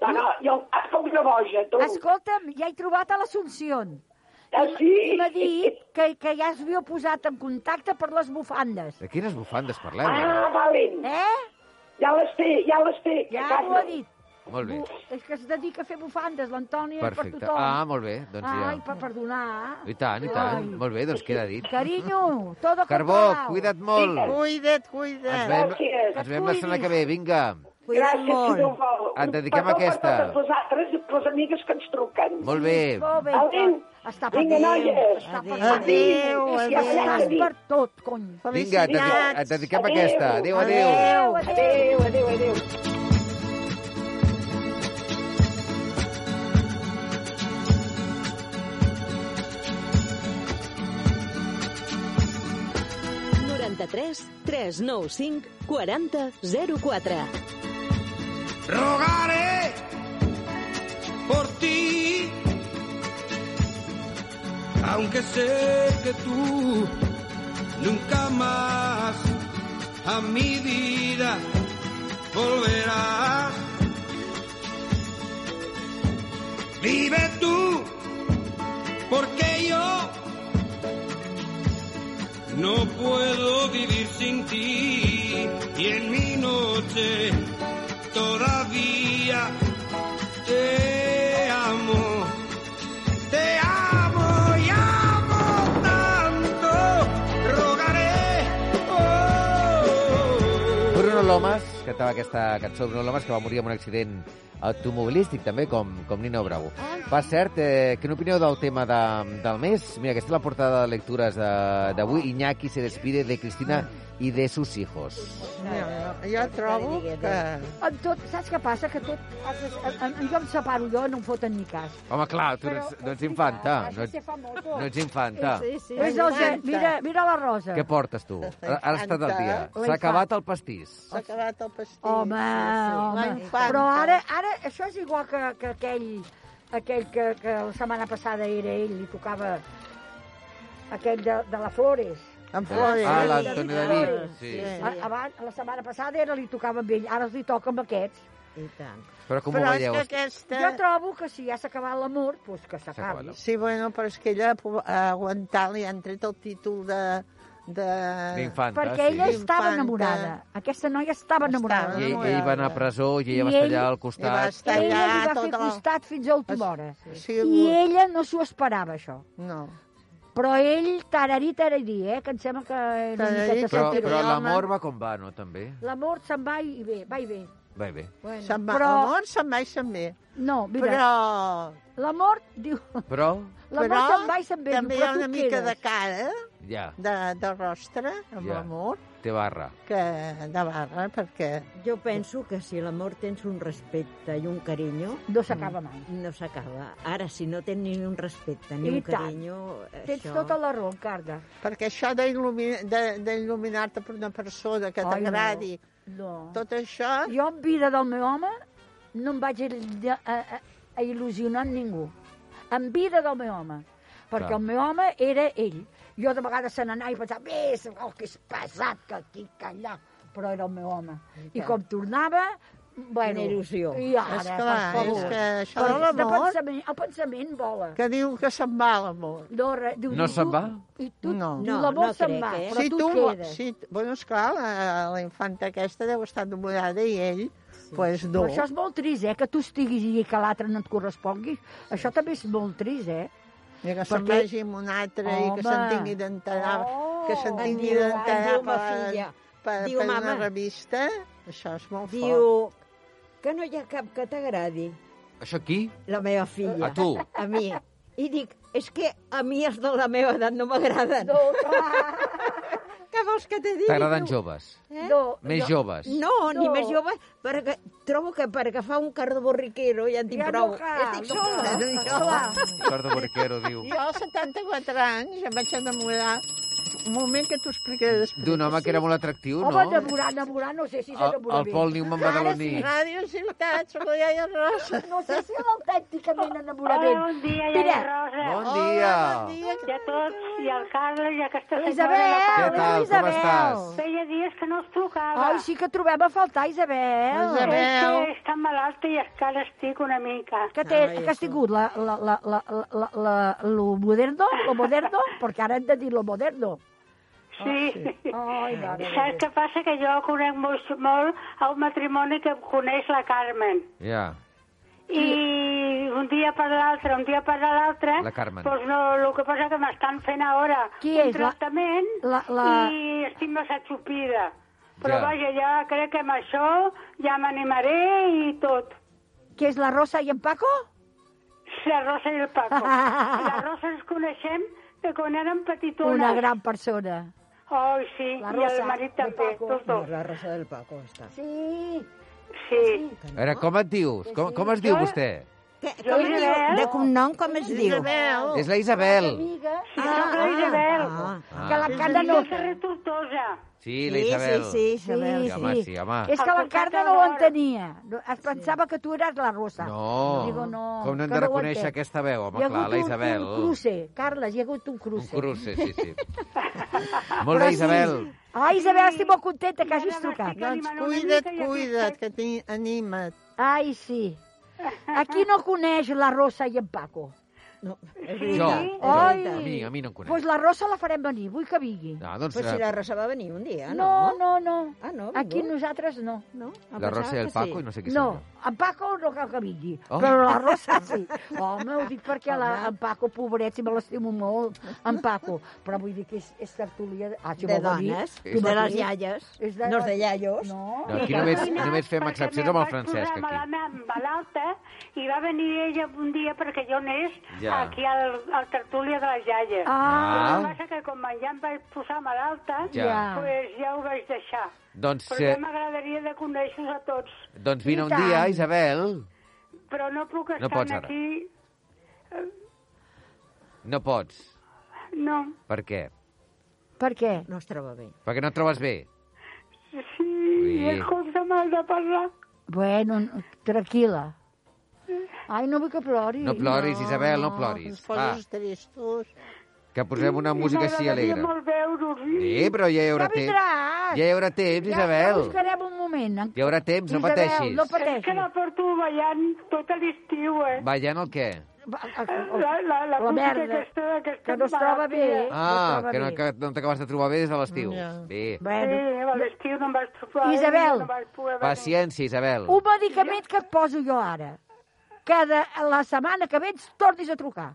S15: No, no, jo em fa una boja, tu.
S3: Escolta'm, ja he trobat a l'Assumpción.
S15: Ah,
S3: I-
S15: sí?
S3: I m'ha dit que, que ja es havia posat en contacte per les bufandes.
S4: De quines bufandes parleu?
S15: Ah, valent.
S3: Eh?
S15: Ja les té, ja les té.
S3: Ja
S15: Carme.
S3: m'ho ha dit.
S4: Molt bé,
S3: És que es dedica a fer bufandes, l'Antònia, per
S4: perfecte.
S3: tothom.
S4: Ah, molt bé, doncs
S3: Ai,
S4: ja.
S3: per perdonar.
S4: I tant, i tant.
S3: Ai.
S4: Molt bé, doncs queda dit.
S3: Carinyo, todo
S4: Carbó,
S3: controlado.
S4: cuida't molt.
S6: Cuida't, cuida't.
S4: Ens veiem, ens veiem la setmana que ve, vinga.
S15: Gràcies, si Déu vol.
S4: Et dediquem a
S15: Perdó
S4: aquesta.
S15: per totes vosaltres i per les amigues que ens truquen.
S4: Molt bé.
S3: Molt bé,
S15: Adéu.
S3: Està per
S15: Vinga,
S3: adéu.
S15: noies.
S3: Està per
S6: Adéu,
S3: És que
S6: adéu.
S3: estàs per tot, cony.
S4: Vinga, et, dedi- et dediquem a aquesta. Adéu, adéu.
S3: Adéu,
S15: adéu. Adéu, adéu.
S16: Carles. 93 395 40 04.
S9: rogaré por ti, aunque sé que tú nunca más a mi vida volverás. Vive tú, porque yo no puedo vivir sin ti y en mi noche todavía te amo, te amo y amo tanto, rogaré. oh,
S4: Bruno Lomas cantava aquesta cançó, Bruno Lomas, que va morir en un accident automobilístic, també, com, com Nino Bravo. Per cert, eh, què n'opineu del tema de, del mes? Mira, aquesta és la portada de lectures de- d'avui. De, Iñaki se despide de Cristina i de sus hijos.
S6: No, no, jo trobo que...
S3: Amb tot, saps què passa? Que tot... has de- en- en- Jo em separo jo, no em foten ni cas.
S4: Home, clar, tu no ets, no ets infanta. No ets,
S3: famoso.
S4: no ets infanta.
S3: sí. És el gen. Mira, mira la Rosa.
S4: Què portes tu? Ara ara has estat al dia.
S6: La
S4: S'ha
S6: infanta.
S4: acabat el pastís.
S6: S'ha acabat el pastís.
S3: Home,
S6: La
S3: home.
S6: infanta.
S3: Però ara, ara això és igual que, que aquell, aquell que, que la setmana passada era ell, li tocava aquell de, de la Flores.
S6: En Flores. Ah,
S4: l'Antonio David, sí. Ah. Sí.
S3: A- Abans, la setmana passada era li tocava amb ell, ara els li toca amb aquests.
S5: I tant.
S4: Però com ho veieu?
S6: aquesta...
S3: Jo trobo que si ja s'ha acabat l'amor, doncs que s'acabi.
S6: Sí, bueno, però és que ella po- a aguantar li han tret el títol de... de...
S4: D'infanta,
S3: Perquè ella
S4: sí.
S6: Infanta.
S3: estava enamorada. Aquesta noia estava enamorada.
S4: I ell, ell va anar a presó i ella va estar allà al costat.
S3: I va estar allà ella li va fer
S6: tota la-
S3: costat fins a última hora.
S6: Sí,
S3: I ella no s'ho esperava, això.
S6: No.
S3: Però ell, tararí, tararí, eh? Que em sembla que... era una miqueta
S4: Però,
S3: sentit.
S4: però l'amor va com va, no, també?
S3: L'amor se'n va i ve, va i ve.
S4: Bé, bé.
S6: Bueno, se'n va, però...
S3: però-
S6: L'amor se'n va i se'n ve.
S3: No, mira,
S6: Però-
S3: l'amor, diu...
S4: Però,
S3: L'amor
S6: Però
S3: se'n va i se'n ve, diu,
S6: també hi
S3: però
S6: ha
S3: tu
S6: una mica
S3: quedes.
S6: de cara,
S4: ja,
S6: de, de rostre, amb
S4: Ja.
S6: l'amor,
S4: té barra.
S6: que de barra, perquè...
S5: Jo penso que si l'amor tens un respecte i un carinyo... mm,
S3: No s'acaba mai.
S5: No s'acaba. Ara, si no tens ni un respecte ni
S3: I
S5: un
S3: tant.
S5: carinyo... eh,
S3: Tens
S5: això...
S3: tota la raó, Carda.
S6: Perquè això d'il·lumi- de- d'il·luminar-te per una persona que
S3: Ai, no.
S6: t'agradi...
S3: No.
S6: Tot això...
S3: Jo en vida del meu home no em vaig il- a, a, a il·lusionar amb ningú. En vida del meu home. Perquè
S17: Clar.
S3: el meu home era ell. Jo de vegades se n'anava i pensava, més, oh, que és pesat, que aquí, que allà. Però era el meu home. I
S5: tant.
S3: com tornava, bueno...
S5: Quina il·lusió.
S3: I ara,
S6: Esclar,
S3: per favor.
S6: és que això
S3: Però
S6: de
S3: de
S6: l'amor-
S3: pensament, el pensament vola.
S6: Que diu que se'n va l'amor.
S3: No, re, diu,
S4: No
S3: i
S4: se'n
S3: tu-
S4: va?
S3: I tu,
S6: No.
S3: tu l'amor se'n va,
S5: eh?
S3: però
S6: si
S3: tu,
S6: tu
S3: quedes.
S6: Si, bueno, esclar, la, la infanta aquesta deu estar enamorada i ell, sí. pues no.
S3: Però això és molt trist, eh? Que tu estiguis i que l'altre no et correspongui. Això també és molt trist, eh?
S6: I que se'n vagi amb un altre i que se'n tingui d'enterar, oh, que se'n
S5: Et
S6: tingui
S5: diu- et
S6: d'enterar
S5: diu ma
S6: per,
S5: filla.
S6: per,
S5: Diu,
S6: per una
S5: mama.
S6: revista. Això és molt
S5: Diu que no hi ha cap que t'agradi,
S4: Això aquí?
S5: la meva filla.
S4: A tu?
S5: A mi. I dic, és que a mi els de la meva edat no m'agraden.
S3: No, clar.
S5: [laughs] Què vols que t'he dit?
S4: T'agraden joves?
S5: Eh?
S3: No,
S4: Més
S5: no.
S4: joves.
S5: No, ni
S3: No.
S5: més joves. Perquè, trobo que per agafar un cardo borriquero ja en tinc
S6: Ja no
S5: prou.
S6: cal,
S5: Estic
S6: no
S5: sola.
S6: cal.
S5: estic
S6: No
S5: sola.
S4: Cardo Borquero diu.
S6: Jo, als 74 anys, em vaig enamorar. Un moment que t'ho explicaré després.
S4: D'un home que era molt atractiu, no?
S3: Home, enamorar, enamorar, no sé si
S4: El-
S3: s'enamora
S4: el Paul Newman va venir.
S6: Ràdio Ciutat, soc la iaia Rosa.
S3: No sé si l'autènticament enamorament.
S17: Hola, bon dia, iaia Rosa.
S4: Bon dia.
S17: Bon dia. I a tots, i al Carles, i a aquesta
S3: Isabel,
S17: senyora.
S4: Què tal, com
S3: Isabel.
S4: estàs?
S17: Feia dies que no us trucava.
S3: Ai, sí que trobem a faltar, Isabel.
S17: És que està malalta i encara estic una mica.
S3: Que, té, que has tingut la, la, la, la, la, la, lo moderno, lo moderno, perquè ara hem de dir lo moderno. Ah,
S17: Sí.
S3: Ai, mare de
S17: Saps què passa? Que jo conec molt, molt a un matrimoni que em coneix la Carmen.
S4: Ja.
S17: I un dia per l'altre, un dia per l'altre...
S4: La Carmen.
S17: Doncs no, el que passa que m'estan fent ara
S3: Qui
S17: un
S3: és la-
S17: tractament
S3: la- la-
S17: i estic massa xupida. Però
S4: Ja.
S17: vaja, ja crec que amb això ja m'animaré i tot.
S3: Què és la Rosa i en Paco?
S17: La Rosa i el Paco.
S3: [laughs]
S17: la Rosa ens coneixem de quan érem petitones.
S3: Una gran persona.
S17: Oh, sí,
S3: La
S17: i el
S3: Rosa
S17: marit
S3: de
S17: també,
S3: Paco.
S17: tots dos.
S5: La rosa del Paco està.
S3: Sí.
S17: Sí.
S4: A veure, com et dius? Com, com es
S3: Eh?
S4: diu
S17: Jo-
S4: vostè?
S5: Que,
S17: Jo,
S5: com es diu?
S17: Isabel.
S5: De cognom, com es diu?
S6: Isabel.
S4: És la Isabel.
S3: Amiga,
S17: Sí, sóc la Isabel.
S4: Ah.
S3: que la Carla no...
S17: Del carrer Tortosa.
S4: Sí, la Isabel.
S3: Sí,
S4: Sí, home,
S3: sí.
S4: sí, home.
S3: És que la Carla no ho entenia. No, Es pensava que tu eres la Rosa.
S4: No.
S3: Digo, no
S4: Com no hem
S3: que
S4: de
S3: ho
S4: reconèixer
S3: entén.
S4: aquesta veu, home,
S3: Hi ha
S4: clar,
S3: hagut
S4: la
S3: un-
S4: Isabel.
S3: Un cruce, Carles, hi ha hagut un
S4: Un
S3: cruce.
S4: cruce, sí,
S3: [laughs]
S4: sí. Molt bé,
S6: sí.
S4: Isabel.
S3: Ah, Isabel, estic molt contenta que hagis trucat.
S6: Doncs cuida't, cuida't, que t'hi- anima't.
S3: Ai, sí. Aquí no coneix la Rosa i en Paco.
S5: No,
S4: Jo.
S3: Ai.
S4: A mi, a mi no em
S3: Doncs
S4: coneix.
S3: pues la Rosa la farem venir, vull que vingui.
S4: No, doncs,
S5: Però si
S4: eh,
S5: la Rosa va venir un dia,
S3: No,
S5: no?
S3: no, no.
S5: Ah, no, ha
S3: Aquí
S5: vingut?
S3: nosaltres no.
S5: No? Em
S4: la
S5: pensava
S4: Rosa i el
S5: que
S4: Paco
S5: sí.
S4: i no sé qui
S3: No,
S4: són.
S3: en Paco no cal que vingui,
S4: Oh.
S3: però la Rosa
S5: [laughs]
S3: sí. Home, ho dic perquè la, en Paco, pobret, si me l'estimo molt, en Paco. Però vull dir que és, és tertúlia... de- Ah, si
S5: De
S3: vol venir,
S5: dones,
S3: tu
S5: de
S3: mateix.
S5: les iaies,
S3: És de
S5: no és
S3: les-
S5: de iaios.
S3: No.
S4: No, aquí només, només fem excepcions amb el Francesc,
S17: Perquè
S4: aquí.
S17: em vaig posar malalta i va venir ella un dia perquè jo anés
S4: Ja.
S17: aquí al, al tertúlia de les iaies.
S4: Ah.
S17: Però el que passa que com ja em vaig posar malalta,
S4: Ja.
S17: pues ja ho vaig deixar.
S4: Doncs,
S17: Però
S4: eh,
S17: ja m'agradaria de conèixer a tots.
S4: doncs
S17: I
S4: vine un
S17: tant.
S4: dia, Isabel.
S17: Però no puc estar
S4: pots ara.
S17: aquí... eh,
S4: No pots.
S17: No,
S4: Per què?
S3: Per què?
S5: No es troba bé.
S4: Perquè no et trobes bé.
S17: sí,
S4: Ui.
S17: escolta mal de parlar.
S3: Bueno, no- tranquil·la. Ai, no vull que plori.
S4: No ploris, Isabel, no ploris. Va,
S6: tristos.
S4: que posem una música així alegre.
S17: molt veure-us.
S4: Sí, però ja hi haurà
S3: Ja
S4: temps.
S3: vindràs.
S4: Ja hi haurà temps,
S3: Ja
S4: Isabel.
S3: buscarem un moment. En...
S4: Hi haurà temps, no
S3: Isabel,
S4: pateixis.
S3: no pateixis.
S17: És que la porto ballant tot l'estiu, eh?
S4: Ballant el què?
S17: La, la, la,
S3: La
S17: música
S3: merda.
S17: aquesta, aquesta
S3: Que no es troba bé.
S17: malaltia.
S4: Ah,
S3: estava
S4: que no,
S3: bé.
S4: que no t'acabes de trobar bé des de l'estiu. Bé.
S17: Sí, a l'estiu no em vaig trobar. eh?
S3: Isabel.
S17: No vaig poder venir.
S4: Paciència, Isabel.
S3: Un medicament que et poso jo ara. Que de la setmana que ve ens tornis a trucar.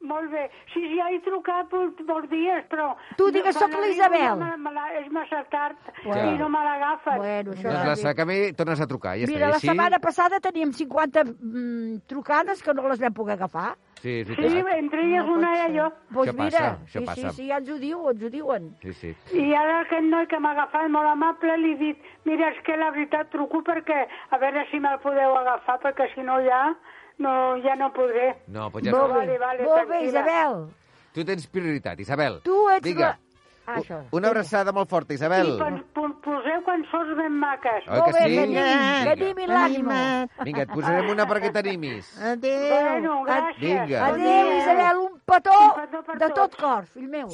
S17: Molt bé. Sí, sí, ja he trucat por, por dies, però...
S3: Tu digues,
S17: no,
S3: soc
S17: quan arribo
S3: l'Isabel.
S17: no me la- me la- És massa tard
S4: Bueno.
S17: i no me l'agafes. Bueno,
S4: Doncs la Sakame tornes a trucar, ja
S3: Mira,
S4: està. I
S3: la
S4: així...
S3: setmana passada teníem 50 mm, trucades que no les vam poder agafar.
S4: Sí, és veritat.
S17: entre elles una era jo.
S3: Pues
S4: Això
S3: Doncs mira,
S4: passa, això
S3: sí,
S4: passa.
S3: sí, sí, ja ens ho diuen, ens ho diuen.
S4: Sí, sí.
S17: I ara aquest noi que m'ha agafat molt amable li he dit, mira, és que la veritat truco perquè a veure si me'l podeu agafar perquè si no ja no, ja no podré.
S4: No, pues ja
S17: Molt
S4: està.
S17: Vale, vale,
S3: Molt bé,
S17: tranquil·la.
S3: Isabel.
S4: Tu tens prioritat, Isabel.
S3: Tu ets
S4: Vinga,
S3: la... Ah, això.
S4: una abraçada molt forta, Isabel.
S17: I pon- pon- poseu cançons ben maques.
S4: Oi que Molt bé, sí? que
S17: Vinga.
S4: animin, que animin
S3: l'ànimo.
S4: Vinga, et posarem una perquè t'animis.
S6: Adéu.
S17: Bueno, gràcies.
S4: Vinga.
S3: Adéu, Isabel, un petó,
S17: Un petó per
S3: de tot cor, fill meu.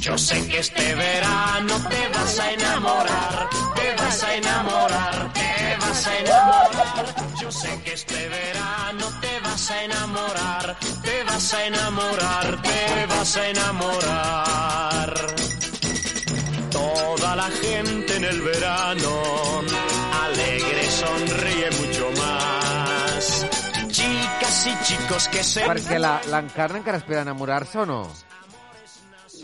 S1: Yo sé que este verano te vas a enamorar, te vas a enamorar, te vas a enamorar. Yo sé que este verano te vas a enamorar, te vas a enamorar, te vas a enamorar. Toda la gente en el verano alegre sonríe mucho más. Chicas y chicos que se
S4: Perquè la- l'Encarna encara espera enamorar-se o no?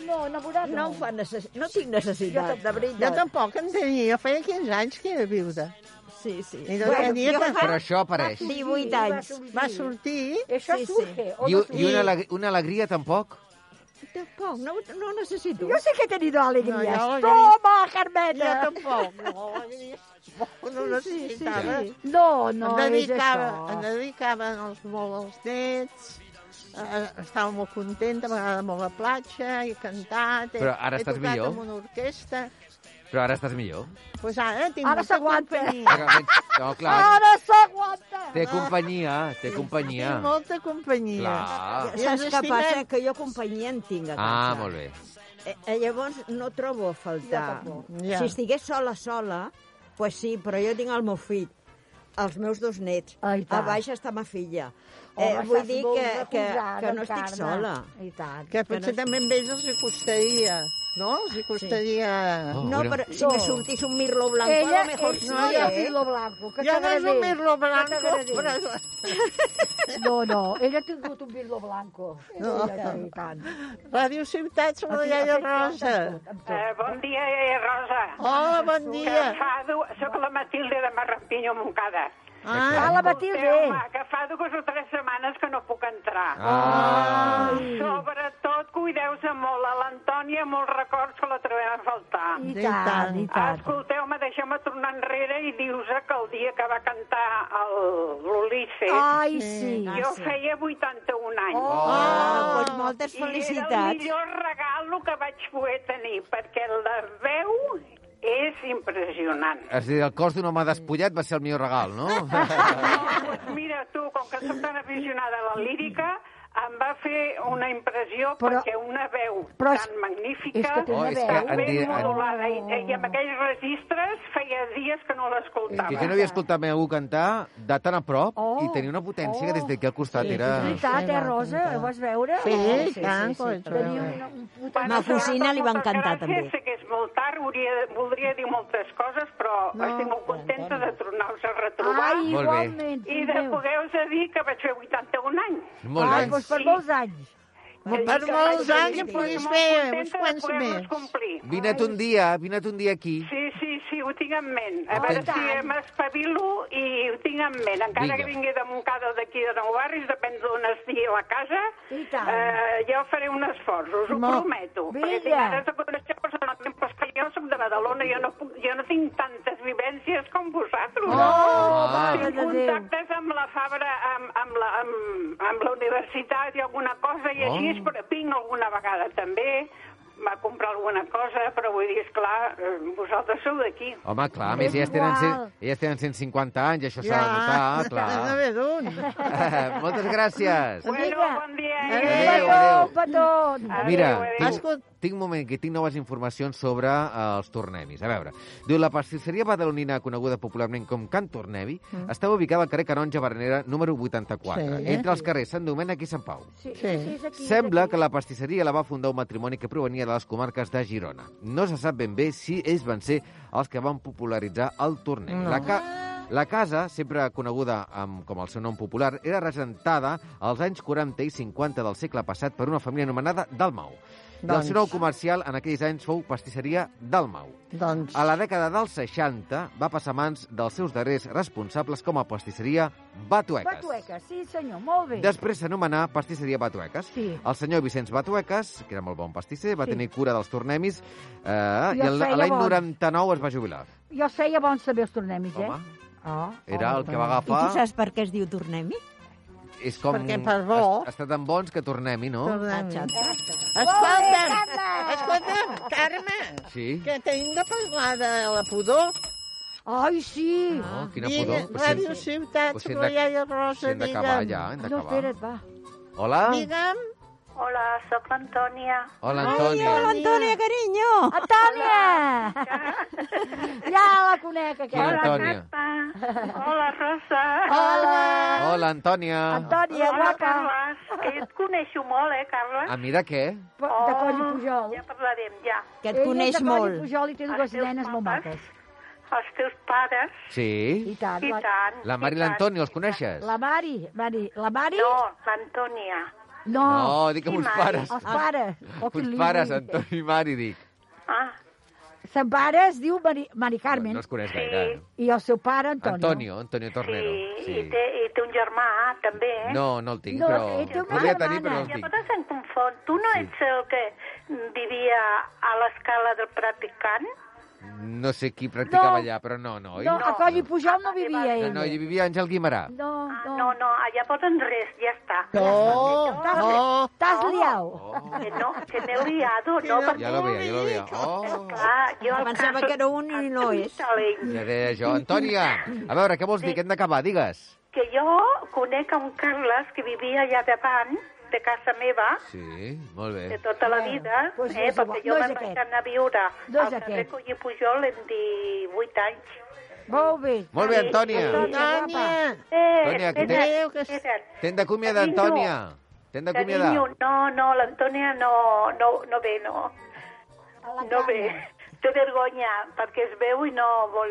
S3: No, enamorat
S5: no. No, fa necess... no tinc necessitat,
S6: Jo
S5: de
S6: Jo
S5: veritat.
S6: tampoc en tenia. Jo feia 15 anys que era viuda.
S5: Sí, sí.
S6: I doncs bueno, dia que...
S4: Però això apareix.
S5: 18 anys.
S6: Va sortir...
S3: Això sí, surge.
S4: I, i una, aleg una alegria tampoc?
S5: Tampoc, no, no necessito.
S3: Jo sé que he tenido
S6: No,
S3: alegrías.
S6: jo l'alegria-
S3: Toma, Carmeta.
S6: Jo tampoc. [laughs] No, no necessitava.
S3: Sí, sí, sí. No, no,
S6: em
S3: és
S6: dedicava,
S3: això.
S6: em dedicava als, molt als nets, eh, estava molt contenta, m'agrada molt la platja, he cantat, he,
S4: Però ara
S6: he
S4: estàs
S6: tocat
S4: millor?
S6: amb una orquestra.
S4: Però ara estàs millor.
S6: Doncs pues ara tinc
S3: Ara s'aguanta.
S4: No, clar,
S3: Ara s'aguanta.
S4: té companyia, té companyia.
S6: Tinc molta companyia.
S4: Clar.
S6: I ens
S5: Saps què
S6: estimem.
S5: passa? Que jo companyia en tinc a casa.
S4: Ah, molt bé.
S5: Eh, eh, llavors no trobo a faltar.
S6: Jo tampoc. Ja.
S5: Si estigués sola, sola, pues sí, però jo tinc el meu fill, els meus dos nets,
S3: Ai,
S5: a
S3: tant.
S5: baix està ma filla.
S3: Home,
S5: eh, vull
S3: estàs
S5: dir
S3: molt
S5: que, que,
S3: recolzada,
S5: que no estic
S3: Carme.
S5: sola.
S3: I tant.
S6: Que potser també a ells els hi costaria, no? Els hi costaria...
S5: Oh, no, però si
S6: No.
S5: me sortís un mirlo blanco,
S3: Ella
S5: a lo mejor
S3: és
S5: sí,
S3: no,
S5: eh?
S3: Mirlo Blanco, que
S6: Jo no és un mirlo blanco,
S3: però... [laughs] No, no, ella ha tingut un Mirlo Blanco. No. Ella, i tant.
S6: Ràdio Ciutat, som la
S3: Aquí-
S6: iaia
S3: aquí
S6: Rosa.
S15: Eh, bon dia, eh, Rosa.
S6: Hola, bon dia.
S15: Que fa du... Soc la Matilde de Marrampinyo, Montcada.
S3: Ah, la Matilde.
S15: Home, que fa dues o tres setmanes que no puc entrar.
S4: Ah.
S15: Sobretot, cuideu-se molt. A l'Antònia, molts records que la trobem a faltar. Ah,
S3: I tant, i tant.
S15: Escolteu-me, deixeu-me tornar enrere i dius que el dia que va cantar el- l'Ulises...
S3: Ai, sí. Oh,
S15: Jo feia 81 anys.
S5: Ah, doncs moltes
S15: I era el
S5: felicitats.
S15: millor regalo que vaig poder tenir, perquè la veu és impressionant.
S4: És a dir, el cos d'un home despullat va ser el millor regal, no?
S15: Pues
S3: [laughs]
S15: mira, tu, com que soc tan aficionada a la lírica, em va fer una impressió
S3: Però-
S15: perquè una veu
S3: però és-
S15: tan magnífica,
S3: és que té una Oh, és que veu.
S15: tan
S4: en di-
S15: ben
S4: en-
S15: modulada, i, i amb aquells registres feia dies que no l'escoltava.
S4: Que jo no havia escoltat mai algú cantar de tan a prop i tenia una potència que des d'aquí al costat
S3: Sí,
S4: era...
S3: És veritat, eh, Rosa? Ho vas veure?
S6: Sí,
S3: Oh,
S6: tant, coi,
S3: Tenia
S6: trobeu.
S3: una, un puta...
S5: Ma cosina li va encantar, també.
S15: Gràcies, sé que és molt tard, hauria, voldria dir moltes coses, però no, estic molt contenta de tornar-vos a retrobar.
S3: Ai,
S4: Molt bé.
S3: igualment,
S15: I
S3: fill
S15: de
S3: meu.
S15: poder-vos dir que vaig fer 81 anys.
S4: Molt
S3: Ai,
S4: bé.
S3: doncs per molts anys.
S15: Que
S6: Per
S15: dic que
S6: molts anys
S15: vaig-
S6: en
S15: estic
S6: puguis
S15: molt
S6: fer
S15: contenta
S6: uns
S15: de
S6: quants
S15: poder-los
S6: més.
S15: Complir.
S4: Vine't un dia, vine't un dia aquí.
S15: Sí, sí, sí, ho tinc en ment. A
S4: Ah,
S15: veure
S4: tant.
S15: si m'espavilo i ho tinc en ment. Encara
S4: Vinga.
S15: que vingui de Montcada o d'aquí de Nou Barris, depèn d'on estigui la casa,
S3: I tant.
S15: eh, jo faré un esforç, us ho
S6: Molt-
S15: prometo. Perquè
S3: Vinga.
S15: tinc ganes de conèixer personalment, però és que jo soc de Badalona, jo no, puc, jo no tinc tantes vivències com vosaltres.
S3: Oh, mare
S15: tinc
S3: de Déu.
S15: contactes amb la Fabra, amb, amb, la, amb, amb la universitat i alguna cosa, i
S4: Oh.
S15: així, però vinc alguna vegada també va comprar alguna cosa, però vull dir, esclar, eh, vosaltres sou d'aquí.
S4: Home, clar, a més,
S3: És
S4: elles tenen,
S3: igual.
S4: cent, elles tenen 150 anys, això s'ha de notar,
S6: n'ha
S4: clar.
S6: d'haver Eh,
S3: [laughs]
S6: d'un.
S4: [laughs] Moltes gràcies.
S15: Bueno, bon dia. eh?
S4: Adéu,
S3: Petó,
S4: adéu.
S3: petó.
S4: Mira, tinc,
S6: Escolta.
S4: tinc un moment que tinc noves informacions sobre eh, els tornemis. A veure, diu, la pastisseria badalonina coneguda popularment com Can Tornevi mm. estava ubicada al carrer Canonja Bernera número 84,
S6: Sí.
S4: sí. entre els carrers Sant Domènec i Sant Pau.
S6: Sí.
S3: Sí, sí, és aquí.
S4: Sembla que la pastisseria la va fundar un matrimoni que provenia de les comarques de Girona. No se sap ben bé si ells van ser els que van popularitzar el torneig.
S6: No.
S4: La, ca La casa, sempre coneguda amb, com el seu nom popular, era regentada als anys 40 i 50 del segle passat per una família anomenada Dalmau. Doncs... I el
S6: Doncs.
S4: seu nou comercial en aquells anys fou pastisseria Dalmau.
S6: Doncs...
S4: A la dècada dels 60 va passar a mans dels seus darrers responsables com a pastisseria Batueques.
S3: Batueques, sí senyor, molt bé.
S4: Després s'anomenà pastisseria Batueques.
S3: Sí.
S4: El senyor Vicenç Batueques, que era molt bon pastisser, va
S3: Sí.
S4: sí. tenir cura dels tornemis eh,
S3: I
S4: i
S3: els
S4: el-
S3: feia
S4: a l'any
S3: bons.
S4: 99 es va jubilar.
S3: Jo els feia bons també els tornemis, eh?
S4: Home.
S3: Oh,
S4: Era el que va
S5: I tu
S4: agafar...
S5: saps per què es diu tornem-hi?
S4: És com...
S5: Perquè per bo.
S4: Es, es tan bons que tornem-hi, no?
S6: Escolta'm, escolta'm, Carme,
S4: Sí.
S6: que tenim de parlar de la pudor.
S3: Ai, sí!
S4: Oh, quina pudor. Però si-
S6: Ràdio Ciutat,
S4: però si hem de-
S6: Torrella
S4: si
S6: Rosa,
S4: hem d'acabar
S6: digue'm.
S4: ja, hem d'acabar. No, espera't,
S3: va.
S4: Hola?
S6: Digue'm.
S18: Hola, sóc l'Antònia.
S4: Hola, Antònia.
S5: Antònia, carinyo!
S18: [laughs]
S3: Antònia! Ja la conec,
S4: Quina
S3: aquesta.
S4: Antònia?
S18: Hola, Rosa.
S3: Hola!
S4: Hola, Antònia.
S3: Antònia,
S18: Hola,
S3: guapa.
S18: Carles. Que jo et coneixo molt, eh, Carles?
S4: Ah, mira què?
S3: De Coll i Pujol.
S18: Ja parlarem, ja.
S3: Que et coneix molt. Ella és de Coll i Pujol i té dues nenes molt maques.
S18: Els teus pares.
S4: Sí?
S3: tant.
S18: I tant.
S4: La Mari i l'Antònia, els coneixes?
S3: La Mari, Mari, la Mari...
S18: No, l'Antònia.
S3: No.
S4: No, dic que uns pares.
S3: Els pares. Oh, que
S4: Uns
S3: li-
S4: pares, Antoni i Mari, dic.
S18: Ah.
S3: Sa mare es diu Mari, Mari Carmen.
S4: No es coneix gaire.
S3: I el seu pare, Antonio.
S4: Antonio, Antonio Tornero.
S18: I té, i té un germà, també, eh?
S4: No, no el tinc,
S18: No,
S4: però...
S18: ell té una
S4: Podria tenir, però no
S18: germana.
S4: el
S18: I a
S4: tinc.
S18: vegades em confon. Tu no ets el que vivia a l'escala del practicant?
S4: No sé qui practicava
S18: No.
S4: allà, però no, no. ell
S3: No, a Coll i Pujol no vivia
S4: No,
S3: ell.
S4: no, hi vivia Àngel Guimarà.
S3: No,
S18: no. Ah, No, no, allà posen res, ja està.
S4: No,
S18: T'has-
S3: no. t'has liat.
S18: Que no, que m'he liado, no? perquè-
S4: Ja lo veia, ja lo veia. Oh,
S18: Clar, jo al
S5: Pensava
S18: cap-
S5: que era un i no és.
S18: Talent.
S4: ja deia jo. Antònia, a veure, què vols dir? Que hem d'acabar, digues.
S18: Que jo conec a un Carles que vivia allà davant de casa meva,
S4: Sí, molt
S18: de
S4: bé.
S18: tota la
S3: Bueno,
S18: vida,
S3: doncs no
S18: eh,
S3: és
S18: perquè
S3: igual,
S18: jo
S3: no és
S18: vaig
S3: aquest.
S18: marxar a viure
S3: No és
S18: al carrer
S3: aquest.
S18: Coll i Pujol en 18 anys.
S3: Molt bé.
S4: Molt bé, Antònia.
S6: Antònia.
S18: Eh,
S4: Antònia, que
S18: espera,
S4: té-
S18: espera.
S4: T'hem d'acomiadar,
S18: Carinyo.
S4: Antònia. T'hem d'acomiadar.
S18: Carinyo, no, no, l'Antònia no, no, no ve, no. No ve. Té vergonya, perquè es veu i no vol...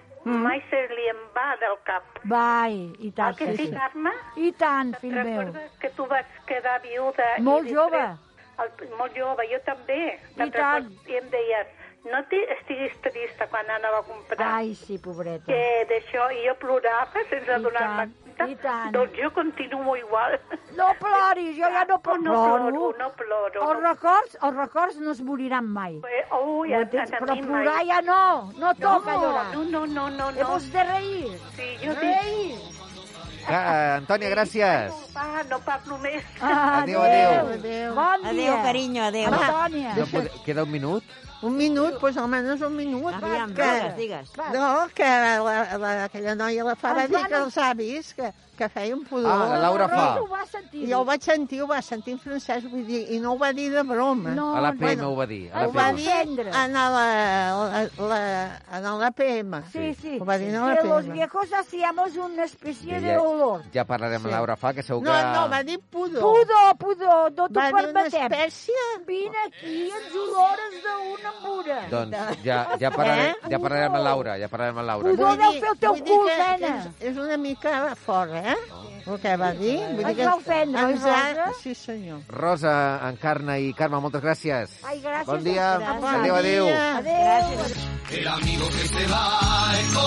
S18: mai se li en va del cap.
S3: Vai, i tant.
S18: El que sí, Carme?
S3: I tant, fill meu.
S18: Recordes que tu vas quedar viuda... i
S3: Molt
S18: després-
S3: jove.
S18: El, molt jove, jo també. Te'n
S3: I tant.
S18: recordes? I em deies, no te- estiguis trista quan anava a comprar.
S3: Ai, sí, pobreta.
S18: que d'això i jo plorava sense donar-me compte. Doncs jo continuo igual. [laughs]
S3: No ploris, jo ja no
S18: No,
S3: ploro.
S18: no ploro, no ploro. Eh,
S3: Els records, els records no es moriran mai.
S18: Ui,
S3: No
S18: a,
S3: tens-
S18: a,
S3: però
S18: mi mai.
S3: plorar ja no, no toca llorar.
S18: No, no, no, no. no.
S3: Hemos de reír.
S18: Sí, jo
S3: Reír.
S4: Ah, Antònia, gràcies.
S18: Va, no parlo més.
S5: Ah,
S18: Ah,
S4: Adéu, adéu.
S6: Adéu.
S3: Bon
S5: Adéu, carinyo, adéu.
S6: Antònia.
S4: No pode... Queda un minut?
S6: Un minut, doncs almenys un minut.
S5: Aviam,
S6: que...
S5: digues, digues.
S6: No, que la, la, aquella noia, la Fa, va dir que els avis, que, que feia un pudor.
S4: Ah, la Laura Fa. Però ell ho
S3: va sentir.
S6: Jo ho vaig sentir, ho va sentir en francès, vull dir, i no ho va dir de broma.
S4: A la PM ho va dir. A la
S6: ho va
S4: PM.
S6: dir en la, la, la, en l'APM.
S3: Sí, sí.
S6: Ho va dir en
S3: que los
S6: l'APM.
S3: viejos hacíamos una especie de
S4: Ja-
S3: olor.
S4: Ja parlarem amb Laura Fa, que segur
S6: No,
S4: que...
S6: no, va dir pudor.
S3: Pudor, pudor, no t'ho
S6: Va dir una
S3: permetem.
S6: espècie?
S3: Vine aquí, ens olores d'una embura.
S4: Doncs ja, ja, parlarem, ja parlarem amb Laura, ja parlarem amb Laura.
S6: Vull
S3: deu
S6: dir-
S3: fer el teu
S6: vull dir
S3: cul,
S6: que-
S3: nena.
S6: que És, és una mica fort, eh? El que va dir. Vull
S3: Ens
S6: dir que
S3: va ofendre,
S6: ens
S3: oi,
S6: ha-
S3: Rosa?
S6: Sí, senyor.
S4: Rosa, Encarna i Carme, moltes gràcies.
S3: Ai, gràcies.
S4: Bon dia.
S3: Gràcies.
S4: Adéu, adéu.
S3: Adéu.
S13: El amigo que se va es